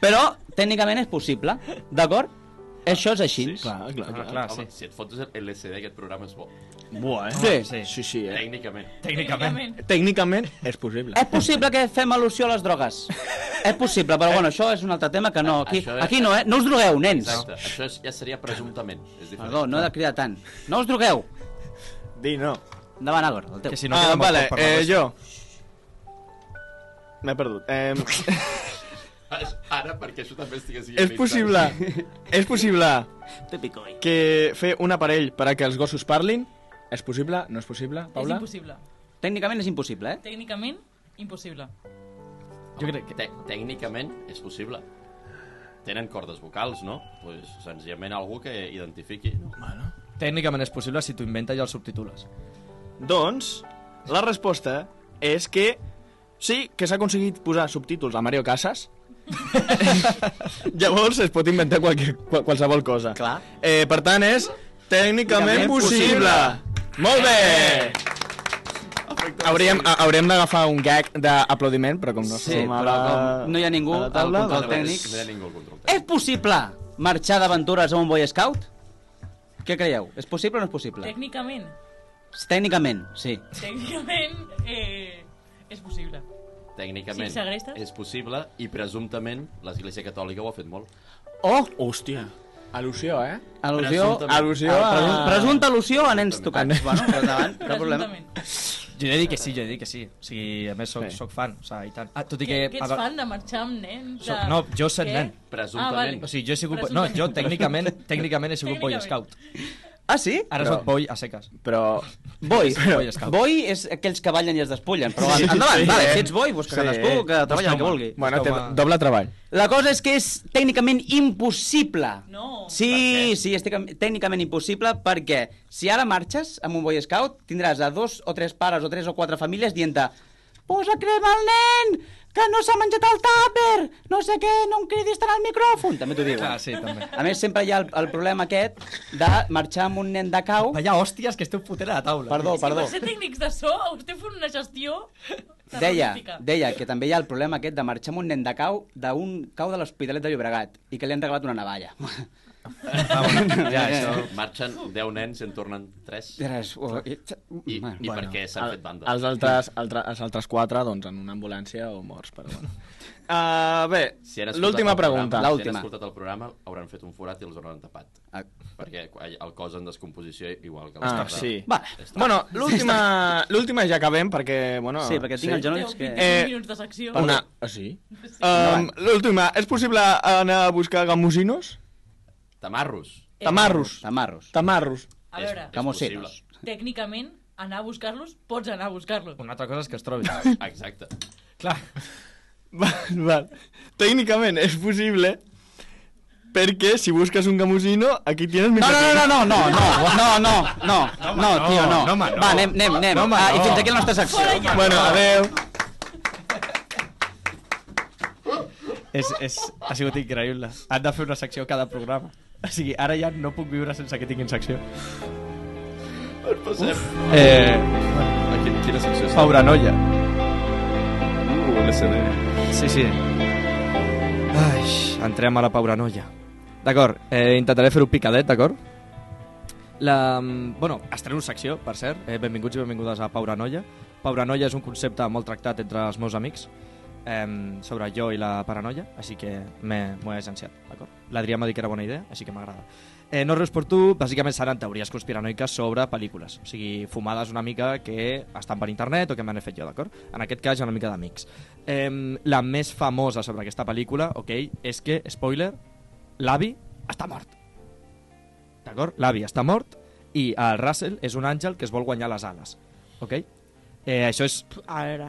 Però tècnicament és possible, d'acord? Això és així. Clar, Ah, clar, clar. clar, Home, sí. si et fots el LCD, aquest programa és bo. Buah, eh? Sí. Sí, sí, eh? Tècnicament. Tècnicament. Tècnicament és possible. És possible que fem al·lusió a les drogues. És possible, però bueno, això és un altre tema que no... Aquí, Això és- aquí no, eh? No us drogueu, nens. Exacte. Això és, ja seria presumptament. És diferent. Perdó, no he de cridar tant. No us drogueu. Di no. Endavant, Agor, el teu. Que si no Ah, queda molt vale, poc per eh, la jo... M'he perdut. Eh, Ara, perquè això també estigués... és possible... És possible Típico. eh. que fer un aparell per a que els gossos parlin? És possible? No és possible, És Paula? impossible. Tècnicament és impossible, eh? Tècnicament, impossible. Jo crec que... Tècnicament és possible. Tenen cordes vocals, no? Pues, senzillament algú que identifiqui. No? qüestió. Tècnicament és possible si t'ho inventes i el subtitules. Doncs, la resposta és que sí, que s'ha aconseguit posar subtítols a Mario Casas. Llavors es pot inventar qualque, qual, qualsevol cosa. Clar. Eh, per tant, és tècnicament Tècnicament possible. Molt bé! Hauríem, ha- haurem d'agafar un gag d'aplaudiment, però com no Sí, som a però la... com no hi ha ningú a la al taula, control doncs- tècnic. No hi ha ningú al control tècnic. És possible marxar d'aventures amb un Boy Scout? Què creieu? És possible o no és possible? Tècnicament, Tècnicament, sí. tècnicament, eh, és possible. Tècnicament Sí, segrestes? és possible i presumptament l'Església Catòlica ho ha fet molt. Oh, Hòstia. Al·lusió, eh? al·lusió... Presumptament. Al·lusió a... Presum- Presumpta al·lusió a nens tocats. Bueno, però endavant, cap problema. Presumptament. Jo he dit que sí, jo he dit que sí. O sigui, a més, soc, Sí. soc fan. O sigui, i tant. Ah, tot i Que, que... que ets fan de marxar amb nens? De... Soc- no, jo sent Què? nen. Presumptament. Ah, O vale. sigui, jo he sigut... No, Presumptament. jo tècnicament, tècnicament he sigut Boy Tècnicament. Scout. Ah, sí? Ara Però- soc Boy a seques. Però... Boi. Però- Boy Scout. Boi és aquells que ballen i es despullen. Però Sí, endavant, sí. vale, si ets boi, busca Sí. cadascú que treballa el que Busca-ho. vulgui. Bueno, té Home. doble treball. La cosa és que és tècnicament impossible. No. Sí, sí, és tècnicament- tècnicament impossible perquè si ara marxes amb un Boy Scout tindràs a dos o tres pares o tres o quatre famílies dient-te posa crema al nen, que no s'ha menjat el tàper, no sé què, no em cridis tant al micròfon. També t'ho diuen. Clar, Ah, sí, també. A més, sempre hi ha el, el problema aquest de marxar amb un nen de cau. Allà, hòsties, que esteu fotent a la taula. Perdó, És que perdó. per ser tècnics de so, esteu fent una gestió... Deia, terrorífica. deia que també hi ha el problema aquest de marxar amb un nen de cau d'un cau de l'Hospitalet de Llobregat i que li han regalat una navalla. Ah, bueno, ja, això... Marxen 10 nens i en tornen 3. I ara és- oh, i- I, bueno. i per què s'han El- fet banda? Els altres, altre, els altres quatre, doncs, en una ambulància o morts, però bueno. Uh, bé, Si han escoltat l'última el programa- pregunta. La- Si han L'última. escoltat el programa, hauran fet un forat i els hauran tapat. Ah, Perquè el cos en descomposició, igual que Ah, l'estat de- sí. Vale. Bueno, l'última l'última ja acabem, perquè, bueno... Sí, perquè tinc els Deu, genolls que... vint-i-cinc Eh, minuts de secció. Una... Ah, sí? Sí. Um, l'última, és possible anar a buscar gamusinos? Tamarros. Eh, Tamarros. Tamarros. Tamarros. A veure, És Camusinos. tècnicament, anar a buscar-los, pots anar a buscar-los. Una altra cosa és que es trobi. Exacte. Clar. Val, Uh, val. Tècnicament és possible, perquè si busques un gamusino, aquí tienes mi No, no, perfil. no, no, no, no, no, no, no, no, home, tio, no. no, home, no. Va, anem, anem, anem. No, home, Ah, I no. fins aquí la nostra Fora secció. ja. Bueno, adeu. És, és, ha sigut increïble. Han de fer una secció cada programa. O sigui, ara ja no puc viure sense que tinguin secció. Ens passem. Eh, A quin, quina secció està? Paura Noia. Uh, LCD. Sí, sí. Ai, entrem a la Paura Noia. D'acord, eh, intentaré fer-ho picadet, d'acord? La, mm, bueno, estreno secció, per cert. Eh, benvinguts i benvingudes a Paura Noia. Paura Noia és un concepte molt tractat entre els meus amics eh, sobre jo i la paranoia, així que m'he m'ho he agenciat, d'acord? L'Adrià m'ha dit que era bona idea, així que m'agrada. Eh, no res per tu, bàsicament seran teories conspiranoiques sobre pel·lícules, o sigui, fumades una mica que estan per internet o que m'han fet jo, d'acord? En aquest cas, hi ha una mica d'amics. Eh, la més famosa sobre aquesta pel·lícula, ok, és que, spoiler, l'avi està mort. D'acord? L'avi està mort i el Russell és un àngel que es vol guanyar les ales. Ok? Eh, això és A veure...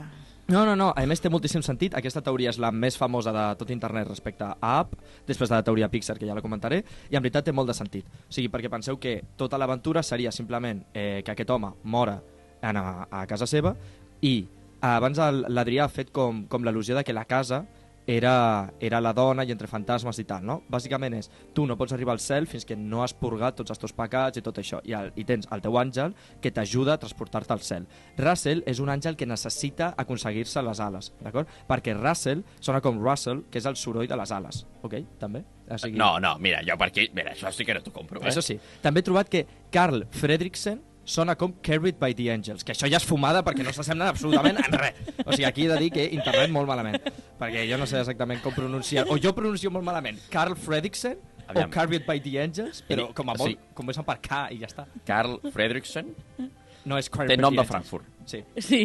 no, no, no, a més té moltíssim sentit. Aquesta teoria és la més famosa de tot internet respecte a Up, després de la teoria Pixar, que ja la comentaré, i en veritat té molt de sentit. O sigui, perquè penseu que tota l'aventura seria simplement eh, que aquest home mora en, a, a casa seva i eh, abans el- l'Adrià ha fet com, com l'al·lusió de que la casa era, era la dona i entre fantasmes i tal, no? Bàsicament és, tu no pots arribar al cel fins que no has purgat tots els teus pecats i tot això, i, el, i tens el teu àngel que t'ajuda a transportar-te al cel. Russell és un àngel que necessita aconseguir-se les ales, d'acord? Perquè Russell sona com Russell, que és el soroll de les ales, ok? També? O sigui, No, no, mira, jo per aquí... Mira, això sí que no t'ho compro, eh? Això sí. També he trobat que Carl Fredriksen sona com Carried by the Angels, que això ja és fumada perquè no s'assemblen absolutament en res. O sigui, aquí he de dir que internet molt malament, perquè jo no sé exactament com pronunciar. O jo pronuncio molt malament Carl Fredriksen o Aviam. Carried by the Angels, però Miri, com o a molt, sigui- sí. comencen per K i ja està. Carl Fredrickson No és Carried té by nom de the Angels. Frankfurt. Sí. Sí.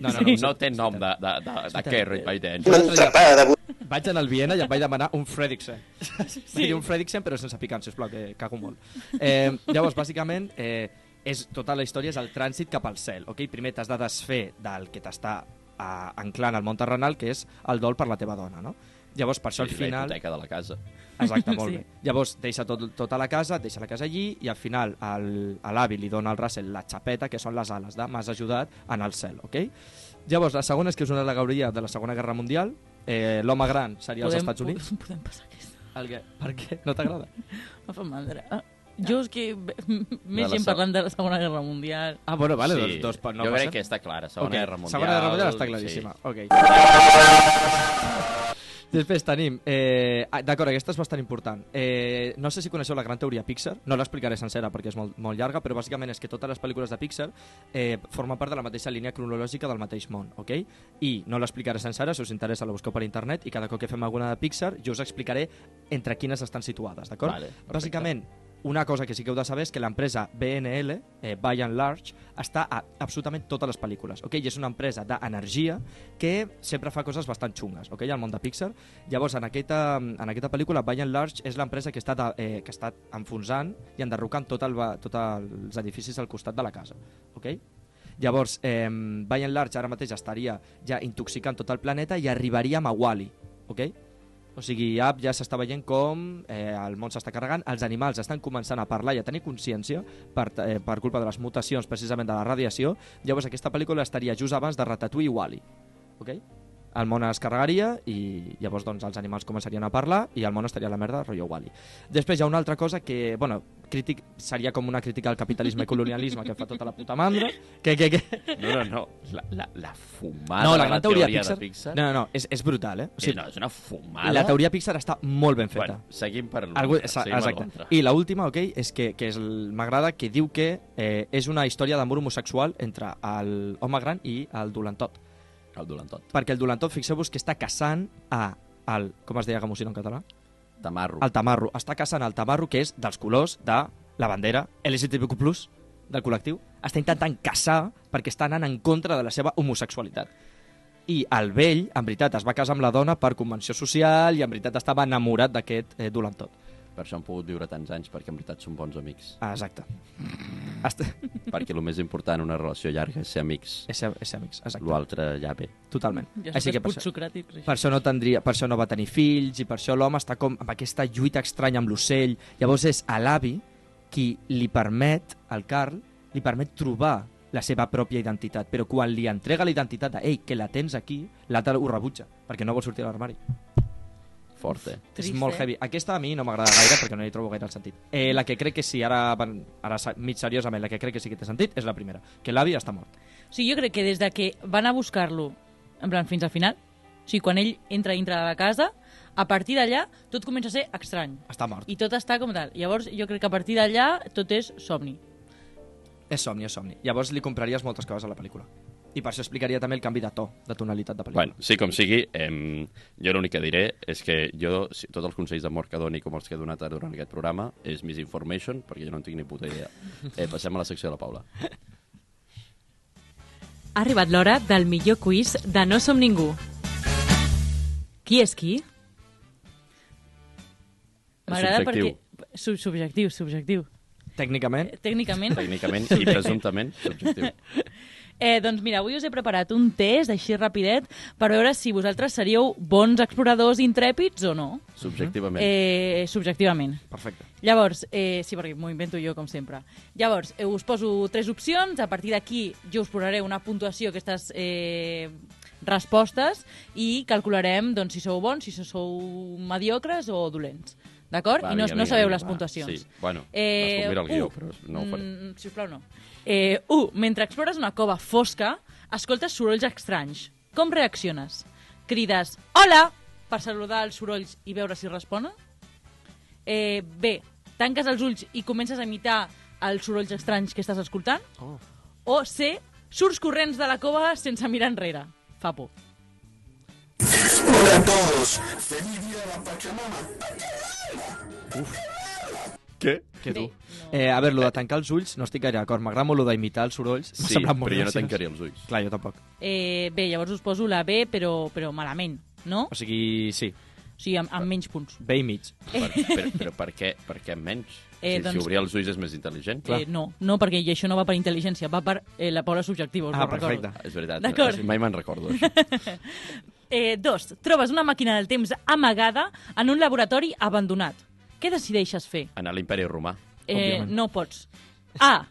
No, no, no, No té nom de, de, de, de eh, Carrie by the Angel. Una entrapada de... bu- Vaig anar al Viena i em vaig demanar un Fredriksen. Sí. Sí. un Fredriksen, però sense picant, sisplau, que cago molt. Eh, llavors, bàsicament, eh, és, tota la història és el trànsit cap al cel. Okay? Primer t'has de desfer del que t'està eh, anclant al món terrenal, que és el dol per la teva dona. No? Llavors, per això, al Sí, La final... hipoteca de la casa. Exacte, molt Sí. sí. bé. Llavors, deixa tot, tota la casa, deixa la casa allí i al final el- a l'avi li dona al Russell la xapeta, que són les ales de m'has ajudat en el cel, ok? Llavors, la segona és que és una alegoria de la Segona Guerra Mundial. Eh, L'home gran seria als Estats Units. Podem, podem passar aquesta. El que, per què? No t'agrada? Em fa mandra. Ah, Jo és que ve- més la gent seg- parlant de la Segona Guerra Mundial. Ah, bueno, vale, sí. doncs, doncs pa- no jo passa. crec que està clara. Segona Ok, Guerra Mundial... Segona Guerra Mundial està claríssima. Ok. Després tenim... Eh, ah, D'acord, aquesta és bastant important. Eh, no sé si coneixeu la gran teoria Pixar. No l'explicaré sencera perquè és molt, molt llarga, però bàsicament és que totes les pel·lícules de Pixar eh, formen part de la mateixa línia cronològica del mateix món, ok? I no l'explicaré sencera, si us interessa la busqueu per internet i cada cop que fem alguna de Pixar jo us explicaré entre quines estan situades, d'acord? Vale, perfecte. Bàsicament, una cosa que sí que heu de saber és que l'empresa BNL, eh, By and Large, està a absolutament totes les pel·lícules. Okay? I és una empresa d'energia que sempre fa coses bastant xungues okay? al món de Pixar. Llavors, en aquesta, en aquesta pel·lícula, By and Large és l'empresa que, està de, eh, que està enfonsant i enderrocant tot el, va- tot els edificis al costat de la casa. Okay? Llavors, eh, By and Large ara mateix estaria ja intoxicant tot el planeta i arribaríem a Wall-E. Okay? O sigui, App ja s'està veient com eh, el món s'està carregant, els animals estan començant a parlar i a tenir consciència per, eh, per culpa de les mutacions precisament de la radiació. Llavors aquesta pel·lícula estaria just abans de Ratatouille i Wall-E. Okay? El món es carregaria i llavors doncs, els animals començarien a parlar i el món estaria a la merda, rotllo Wall-E. Després hi ha una altra cosa que, bueno, crític, seria com una crítica al capitalisme i colonialisme que fa tota la puta mandra. Que, que, que... No, no, no. La, la, la fumada Ah, No, de la gran teoria, Pixar... de Pixar... No, no, no, és, és brutal, eh? O Sí, sigui, no, és una fumada. la teoria Pixar està molt ben feta. Bueno, seguim per l'ultra. Algú, exa- seguim per exacte. l'ultra. I l'última, ok, és que, que és el- m'agrada, que diu que eh, és una història d'amor homosexual entre el home gran i el dolentot. El dolen tot. Perquè el dolentot, fixeu-vos que està caçant a el, com es deia Gamusino en català? T'amarro. El tamarro. Està caçant el tamarro, que és dels colors de la bandera LGTBQ+, del col·lectiu. Està intentant caçar perquè està anant en contra de la seva homosexualitat. I el vell, en veritat, es va casar amb la dona per convenció social i en veritat estava enamorat d'aquest eh, dolentot. Per això han pogut viure tants anys, perquè en veritat són bons amics. Ah, Exacte. Està... perquè el més important en una relació llarga és ser amics. És, és amics, exacte. Uau. L'altre ja ve. Totalment. Ja Així que per, això- socràtics. per això, no tindria, per això no va tenir fills i per això l'home està com amb aquesta lluita estranya amb l'ocell. Llavors és a l'avi qui li permet, al Carl, li permet trobar la seva pròpia identitat, però quan li entrega la identitat de ei, que la tens aquí, l'altre ho rebutja, perquè no vol sortir de l'armari. Fort, eh? Trist, és molt eh? heavy. Aquesta a mi no m'agrada gaire perquè no hi trobo gaire el sentit. Eh, la que crec que sí, ara, van- ara se- mig seriosament, la que crec que sí que té sentit és la primera, que l'avi està mort. O sigui, jo crec que des de que van a buscar-lo, en plan, fins al final, o sigui, quan ell entra dintre de la casa, a partir d'allà tot comença a ser estrany. Està mort. I tot està com tal. Llavors, jo crec que a partir d'allà tot és somni. És somni, és somni. Llavors li compraries moltes coses a la pel·lícula. I per això explicaria també el canvi de to, de tonalitat de pel·lícula. Bueno, sí com sigui, em, jo l'únic que diré és que jo, si, tots els consells d'amor que doni com els que he donat ara durant aquest programa és misinformation, perquè jo no en tinc ni puta idea. Eh, passem a la secció de la Paula. Ha arribat l'hora del millor quiz de No som ningú. Qui és qui? M'agrada Subjectiu. perquè... Sub subjectiu, subjectiu. Tècnicament, Tècnicament, Tècnicament i presumptament subjectiu. eh, doncs mira, avui us he preparat un test així rapidet per veure si vosaltres seríeu bons exploradors intrèpids o no, Subjectivament. eh, subjectivament. perfecte. Llavors, eh, sí, perquè m'ho invento jo, com sempre. Llavors, eh, us poso tres opcions, a partir d'aquí jo us posaré una puntuació que estàs eh, respostes i calcularem doncs, si sou bons, si sou mediocres o dolents. D'acord? Va, I no, vinga, no vinga, sabeu vinga, les va. puntuacions. Eh, Sí, bueno, es convida el guió, però no ho faré. Mm, sisplau, no. Eh, 1. Mentre explores una cova fosca, escoltes sorolls estranys. Com reacciones? Crides «Hola!» per saludar els sorolls i veure si responen? Eh, B. Tanques els ulls i comences a imitar els sorolls estranys que estàs escoltant? Oh. O C. Surts corrents de la cova sense mirar enrere. Fa por. Què? Que tu. Bé, no. Eh, a veure, lo de tancar els ulls no estic gaire d'acord. M'agrada molt lo d'imitar els sorolls. M'ha Sí, semblat molt però jo no graciós. tancaré els ulls. Clar, jo tampoc. Eh, bé, llavors us poso la B, però, però malament, no? O sigui, sí, O sigui, amb, amb menys punts. bé i mig. Per, però, però per què, per què menys? Eh, Eh, si, doncs... doncs- si obrir els ulls és més intel·ligent. Eh, no, no, perquè això no va per intel·ligència, va per eh, la pobla subjectiva, us ho Ah, recordo. perfecte. És veritat, D'acord. mai me'n recordo. això. Eh, dos, trobes una màquina del temps amagada en un laboratori abandonat. Què decideixes fer? Anar a l'imperi romà. Eh, Òbviament. no pots. A.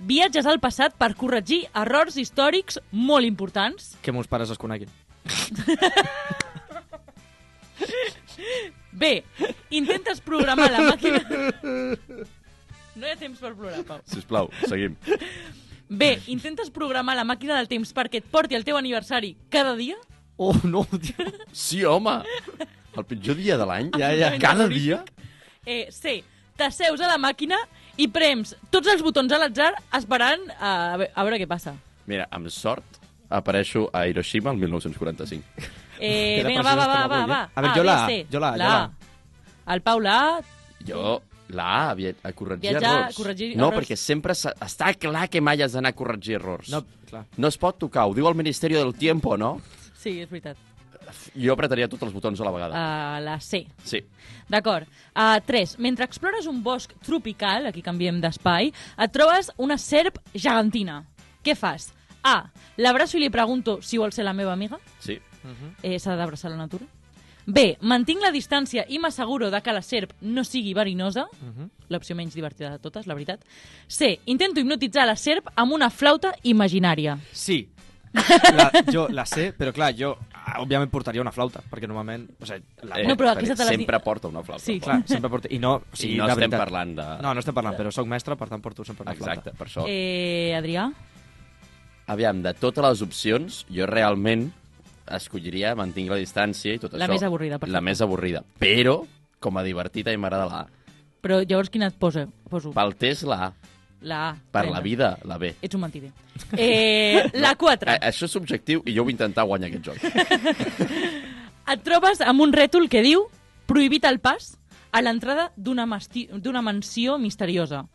Viatges al passat per corregir errors històrics molt importants. Que meus pares es coneguin. B. Intentes programar la màquina... No hi ha temps per plorar, Pau. Sisplau, seguim. B. Intentes programar la màquina del temps perquè et porti el teu aniversari cada dia. Oh, no, tio. Sí, home! El pitjor dia de l'any? Ja, ja. Cada dia? Eh, C. T'asseus a la màquina i prems tots els botons a l'atzar esperant a, a, ve- a veure què passa. Mira, amb sort apareixo a Hiroshima el 1945. Eh, Queda vinga, va, va, persones va, com va, avui, va. eh? A veure, jo la A, B, C. jo la A, jo la A. El Pau la A, Jo, la A, via- a corregir Viatjar, errors. corregir no, errors. perquè sempre s'ha- està clar que mai has d'anar a corregir errors. No, clar. no es pot tocar, ho diu el Ministeri del Tiempo, no? sí, és veritat. Jo apretaria tots els botons a la vegada. A Eh, la C. Sí. D'acord. Uh, 3. Mentre explores un bosc tropical, aquí canviem d'espai, et trobes una serp gegantina. Què fas? A. L'abraço i li pregunto si vol ser la meva amiga. Sí. Eh, S'ha d'abraçar la natura. B. Mantinc la distància i m'asseguro de que la serp no sigui verinosa. Mhm. L'opció menys divertida de totes, la veritat. C. Intento hipnotitzar la serp amb una flauta imaginària. Sí. La, jo la sé, però clar, jo ah, òbviament portaria una flauta, perquè normalment... O sigui, la, Eh, No, però perquè aquesta te l'has dit- Sempre porta una flauta. Sí, clar, sempre porto... I no, o Sí, sigui, no de estem veritat. parlant de... No, no estem parlant, però sóc mestre, per tant porto sempre una Exacte, per això. Eh... Eh, Adrià? Aviam, de totes les opcions, jo realment escolliria mantenir la distància i tot La això. més avorrida, perfecte. La més avorrida. Però, com a divertida i m'agrada la A. Però llavors quina et posa? poso? Pel test, la A. La A. Per Vinga. la vida, la B. Ets un mentider. Eh, la 4. A això és subjectiu i jo vull intentar guanyar aquest joc. Et trobes amb un rètol que diu prohibit el pas a l'entrada d'una masti- d'una mansió misteriosa.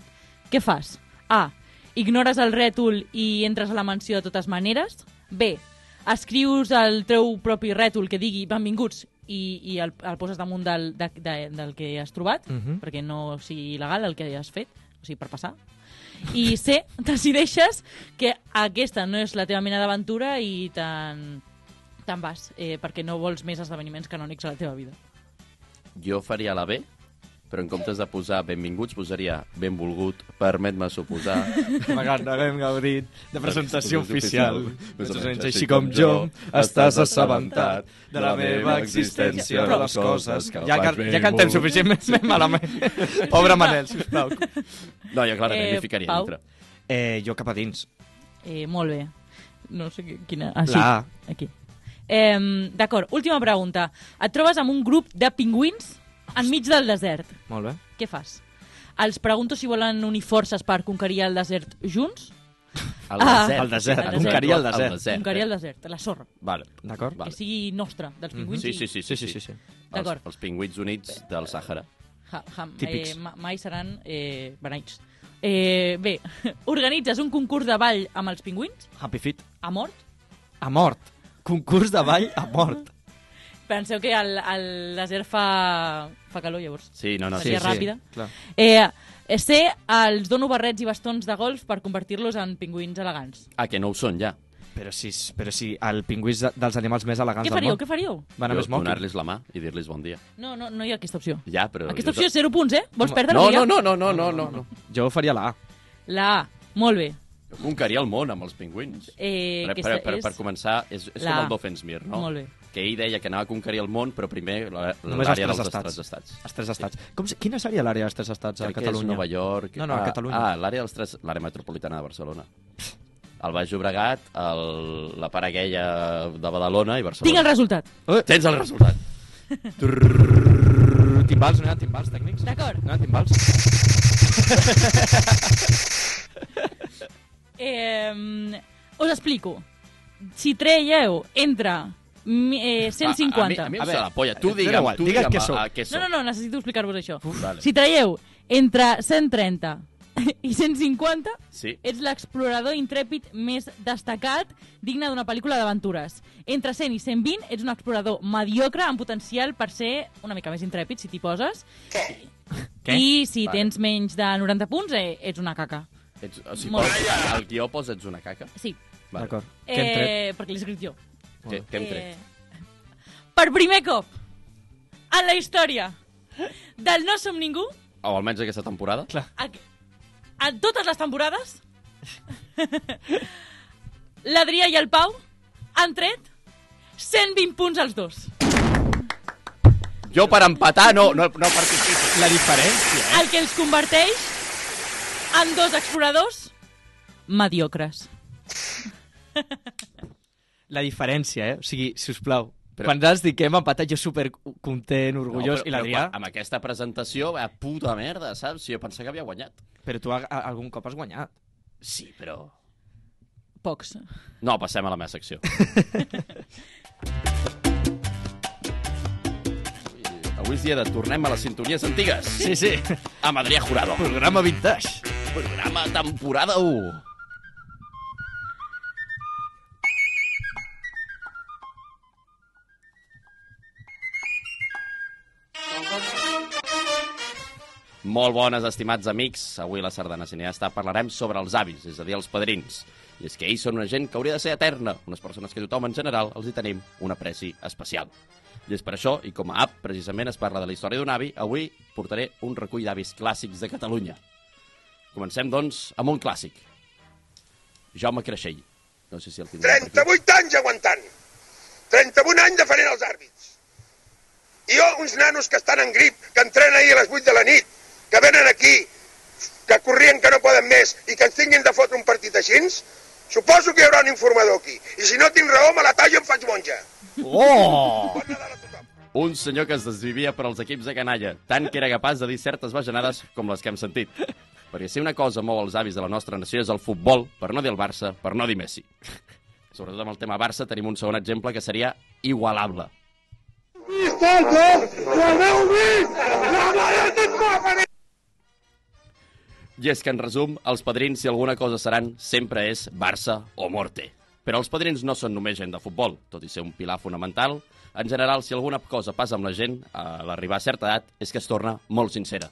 Què fas? A. Ignores el rètol i entres a la mansió de totes maneres. B. Escrius el teu propi rètol que digui benvinguts i, i el, el poses damunt del, de, de, del que has trobat, perquè no sigui il·legal el que has fet, o sigui, per passar. I C, decideixes que aquesta no és la teva mena d'aventura i te'n te'n vas, eh, perquè no vols més esdeveniments canònics a la teva vida. Jo faria la B, però en comptes de posar benvinguts, posaria benvolgut, permet-me suposar... M'agrada, haguem gaudit de presentació oficial. Més o menys doncs, així així com com jo, jo, estàs assabentat de la meva existència, de les coses que... Ja, faig ca- ja cantem benvolgut. suficient més més malament. Pobre Manel, sisplau. No, jo clarament Eh, eh, m'hi ficaria Pau? dintre. Eh, jo cap a dins. Eh, molt bé. No sé qui- quina... Així, La A. Aquí. Eh, D'acord, última pregunta. Et trobes amb un grup de pingüins enmig del desert. Molt bé. Què fas? Els pregunto si volen unir forces per conquerir el desert junts. Al Ah. desert. Al desert, al conquerir el desert. Al desert. Conquerir el desert, la sorra. Vale. D'acord? Que eh. vale. Mhm, sigui nostra, dels pingüins. Sí, sí, sí. Sí, sí, sí. sí. D'acord. Els, els pingüits units del Sàhara. Ha, ham, Típics. Eh, ma- mai seran eh, beneits. Eh, bé, organitzes un concurs de ball amb els pingüins, Happy Feet. a mort. A mort. Concurs de ball a mort. Penseu que el, el desert fa, fa calor, llavors. Sí, no, no. Sí, sí. ràpida. Ah, Clar. Eh, eh, C, els dono barrets i bastons de golf per convertir-los en pingüins elegants. Ah, que no ho són, ja. Però si, però si el pingüí és de- dels animals més elegants Què del faríeu? món. Què faríeu? Va anar Jo més moc. Donar-los la mà i dir-los bon dia. No, no, no hi ha aquesta opció. Ja, però... Aquesta jo- opció és 0 punts, eh? Vols perdre-ho No, ja? no, no, no, no, no, no, no. Jo faria la A. La A. Molt bé. Jo conqueria el món amb els pingüins. per, Eh, per, aquesta per, és per començar, és, és la- com el Doffensmir, no? Molt bé. Que ell deia que anava a conquerir el món, però primer la- Només els l'àrea tres dels estats. tres estats. Els tres estats. Com, se- quina seria l'àrea dels tres estats a Crec que és Catalunya? Nova York... No, no, a ah, Catalunya. Ah, l'àrea dels tres... L'àrea metropolitana de Barcelona. El Baix Llobregat, el, la part aquella de Badalona i Barcelona. Tinc el resultat. Eh, Tens el resultat. Brrr, Timbals, no hi ha timbals tècnics? D'acord. No hi ha timbals? Eh, us explico. Si traieu entre mi- eh, 150... Ah, A, a, mi, a mi em A sona veure, la polla. Tu dona digue'm, Eh, igual, tu digues digue'm què a- sou. a què No, sou. no, no, necessito explicar-vos això. Uf, vale. Si traieu entre 130 i 150, Sí. ets l'explorador intrèpid més destacat, digne d'una pel·lícula d'aventures. Entre 100 i 120, ets un explorador mediocre amb potencial per ser una mica més intrèpid, si t'hi poses. Què? I si Vale. tens menys de 90 punts, eh, ets una caca. Ets, o sigui, Molt pots, al guió posats una caca. Sí, Vale. D'acord. Què hem tret? eh, perquè l'he escrit jo. Què, què hem tret? Eh, per primer cop en la història del No som ningú, O almenys aquesta temporada. Clar. a, a totes les temporades, l'Adrià i el Pau han tret 120 punts als dos. Jo per empatar no, no, no participo. La diferència, El que els converteix en dos exploradors mediocres. La diferència, eh? O sigui, si us plau, Però- però... quan has dit que hem empatat, jo super content, orgullós, però- i l'Adrià... però quan- Amb aquesta presentació, a puta merda, saps? Jo pensava que havia guanyat. Però, però tu a, a, algun cop has guanyat. Sí, però... Pocs. No, passem a la meva secció. Avui és dia de tornem a les sintonies antigues. Sí, sí. Amb Adrià Jurado. Programa vintage. Programa temporada 1. Molt bones, estimats amics. Avui a la Sardana Cineasta parlarem sobre els avis, és a dir, els padrins. I és que ells són una gent que hauria de ser eterna, unes persones que tothom en general els hi tenim un apreci especial. I és per això, i com a app precisament es parla de la història d'un avi, avui portaré un recull d'avis clàssics de Catalunya. Comencem, doncs, amb un clàssic. Jaume Creixell. No sé si el tindrà per aquí. 38 anys aguantant. 31 anys defenent els àrbits. I jo, uns nanos que estan en grip, que entren ahir a les 8 de la nit, que venen aquí, que corrien que no poden més i que ens tinguin de fotre un partit així, suposo que hi haurà un informador aquí. I si no tinc raó, me la tallo i em faig monja. Oh! Bon Nadal a tothom. Un senyor que es desvivia per als equips de canalla, tant que era capaç de dir certes bajanades com les que hem sentit. Perquè si una cosa mou els avis de la nostra nació és el futbol, per no dir el Barça, per no dir Messi. Sobretot amb el tema Barça tenim un segon exemple que seria igualable. I és que, en resum, els padrins, si alguna cosa seran, sempre és Barça o Morte. Però els padrins no són només gent de futbol, tot i ser un pilar fonamental. En general, si alguna cosa passa amb la gent, a l'arribar a certa edat, és que es torna molt sincera.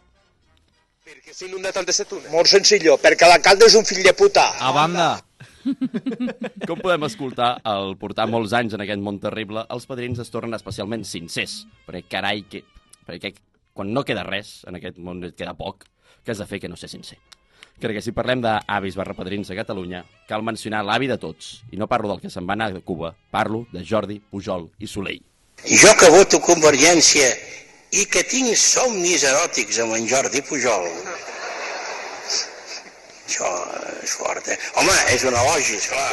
Perquè s'ha inundat el de Setuna. Molt senzill, perquè l'alcalde és un fill de puta. A banda, Com podem escoltar, al portar molts anys en aquest món terrible, els padrins es tornen especialment sincers, perquè carai, que, perquè quan no queda res, en aquest món et queda poc, que has de fer que no ser sincer. Crec que si parlem d'avis barra padrins a Catalunya, cal mencionar l'avi de tots, i no parlo del que se'n va anar de Cuba, parlo de Jordi, Pujol i Soleil. Jo que voto Convergència i que tinc somnis eròtics amb en Jordi Pujol. Això és fort, eh? Home, és un elogi, esclar.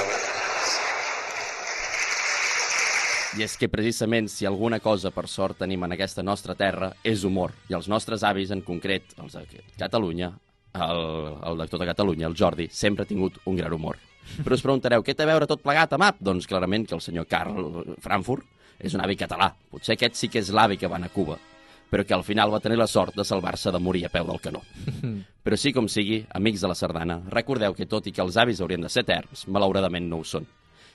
I és que precisament si alguna cosa per sort tenim en aquesta nostra terra és humor. I els nostres avis, en concret, els de Catalunya, el, el de tota Catalunya, el Jordi, sempre ha tingut un gran humor. Però us preguntareu, què té a veure tot plegat amb app? Doncs clarament que el senyor Karl Frankfurt és un avi català. Potser aquest sí que és l'avi que va anar a Cuba, però que al final va tenir la sort de salvar-se de morir a peu del canó. Però sí com sigui, amics de la sardana, recordeu que tot i que els avis haurien de ser eterns, malauradament no ho són.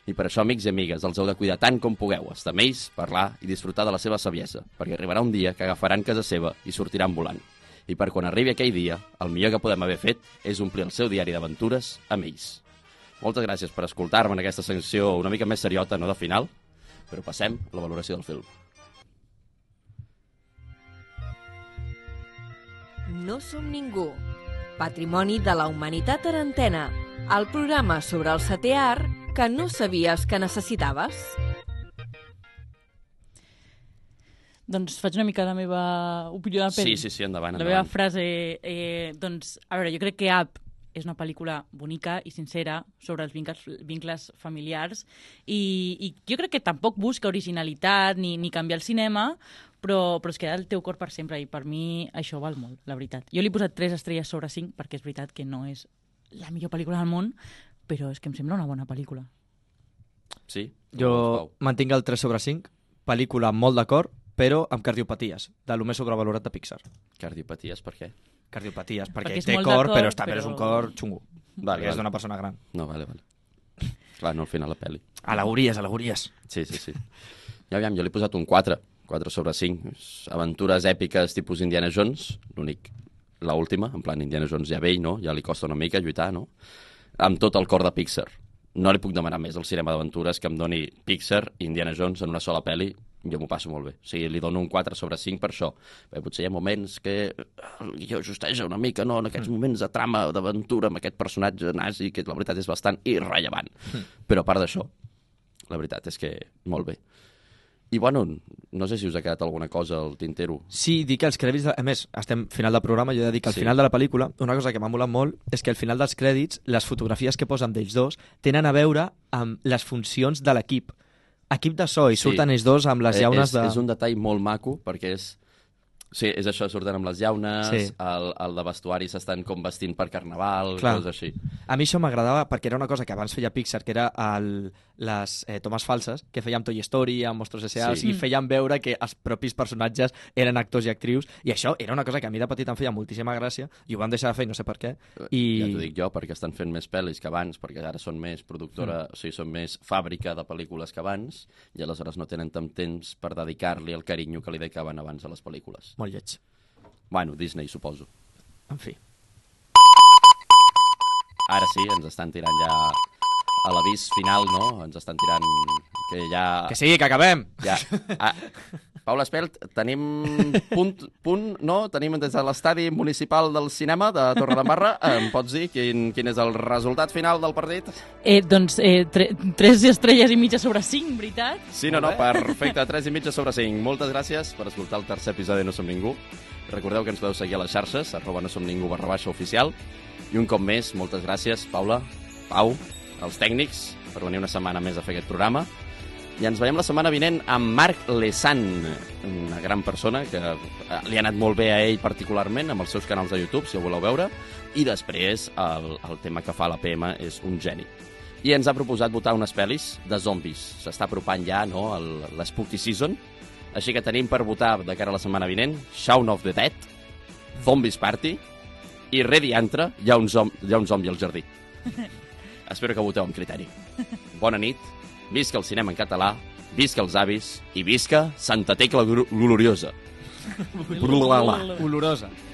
I per això, amics i amigues, els heu de cuidar tant com pugueu, estar amb ells, parlar i disfrutar de la seva saviesa, perquè arribarà un dia que agafaran casa seva i sortiran volant. I per quan arribi aquell dia, el millor que podem haver fet és omplir el seu diari d'aventures amb ells. Moltes gràcies per escoltar-me en aquesta secció una mica més seriota, no de final, però passem a la valoració del film. No som ningú. Patrimoni de la humanitat arantena. el programa sobre el setè art que no sabies que necessitaves. Doncs faig una mica la meva opinió de pell. Sí, sí, sí, endavant, La meva endavant. frase, eh, doncs, a veure, jo crec que Up és una pel·lícula bonica i sincera sobre els vincles, vincles familiars i, i jo crec que tampoc busca originalitat ni, ni canviar el cinema, però, però es queda el teu cor per sempre i per mi això val molt, la veritat. Jo li he posat 3 estrelles sobre 5 perquè és veritat que no és la millor pel·lícula del món, però és que em sembla una bona pel·lícula. Sí? Jo mantinc el 3 sobre 5, pel·lícula molt d'acord, però amb cardiopaties, de lo més sobrevalorat de Pixar. Cardiopaties, per què? Cardiopaties, perquè, Perquè és té molt cor, d'acord, però, està, però... és un però- cor xungo. Vale, perquè vale. és d'una persona gran. No, vale, vale. Clar, no al final la pel·li. Alegories, alegories. Sí, sí, sí. Ja aviam, jo li he posat un 4, 4 sobre 5. Aventures èpiques tipus Indiana Jones, l'únic, la última, en plan Indiana Jones ja vell, no? Ja li costa una mica lluitar, no? Amb tot el cor de Pixar. No li puc demanar més al cinema d'aventures que em doni Pixar i Indiana Jones en una sola pel·li, jo m'ho passo molt bé. O sigui, li dono un 4 sobre 5 per això. Bé, potser hi ha moments que el guió justeja una mica, no? En aquests moments de trama, d'aventura, amb aquest personatge nazi, que la veritat és bastant irrellevant. Però a part d'això, la veritat és que molt bé. I bueno, no sé si us ha quedat alguna cosa al tintero. Sí, dir que els crèdits... De... A més, estem final del programa, jo he de dir que al Sí. sí. final de la pel·lícula, una cosa que m'ha molat molt és que al final dels crèdits, les fotografies que posen d'ells dos tenen a veure amb les funcions de l'equip. Equip de so, i Sí. surten ells dos amb les Eh, llaunes és, de... És un detall molt maco, perquè és... Sí, és això, surten amb les llaunes, sí. Sí. el, el de vestuari s'estan com vestint per carnaval, Clar. Clar. coses així. A mi això m'agradava perquè era una cosa que abans feia Pixar, que era el, les eh, tomes falses, que feia amb Toy Story, amb Mostres S.A., Sí. sí. i feien veure que els propis personatges eren actors i actrius, i això era una cosa que a mi de petit em feia moltíssima gràcia, i ho van deixar de fer, i no sé per què, I... i... Eh, Ja t'ho dic jo, perquè estan fent més pel·lis que abans, perquè ara són més productora, mm. o sigui, són més fàbrica de pel·lícules que abans, i aleshores no tenen tant temps per dedicar-li el carinyo que li dedicaven abans a les pel·lícules. Molt lleig. Bueno, Disney, suposo. En fi. Ara sí, ens estan tirant ja a l'avís final, no? Ens estan tirant que ja... Que sí, que acabem! Ja. Ah, Paula Espelt, tenim punt, punt, no? Tenim des de l'estadi municipal del cinema de Torredembarra. Em pots dir quin, quin és el resultat final del partit? Eh, doncs eh, tre tres estrelles i mitja sobre 5, veritat? Sí, no, no, perfecte, 3 i mitja sobre 5. Moltes gràcies per escoltar el tercer episodi de No Som Ningú. Recordeu que ens podeu seguir a les xarxes, arroba no som ningú barra baixa oficial. I un cop més, moltes gràcies, Paula, Pau, els tècnics, per venir una setmana més a fer aquest programa. I ens veiem la setmana vinent amb Marc Lesan, una gran persona que eh, li ha anat molt bé a ell particularment, amb els seus canals de YouTube, si ho voleu veure. I després, el, el tema que fa la PM és un geni i ens ha proposat votar unes pel·lis de zombis. S'està apropant ja no, el- l'Spooky Season, així que tenim per votar de cara a la setmana vinent Shaun of the Dead, Zombies Party i Re Diantre, hi ha un, zom hi ha un zombi al jardí. Espero que voteu amb criteri. Bona nit, visca el cinema en català, visca els avis i visca Santa Tecla Glo- Gloriosa. Blulala. Olorosa.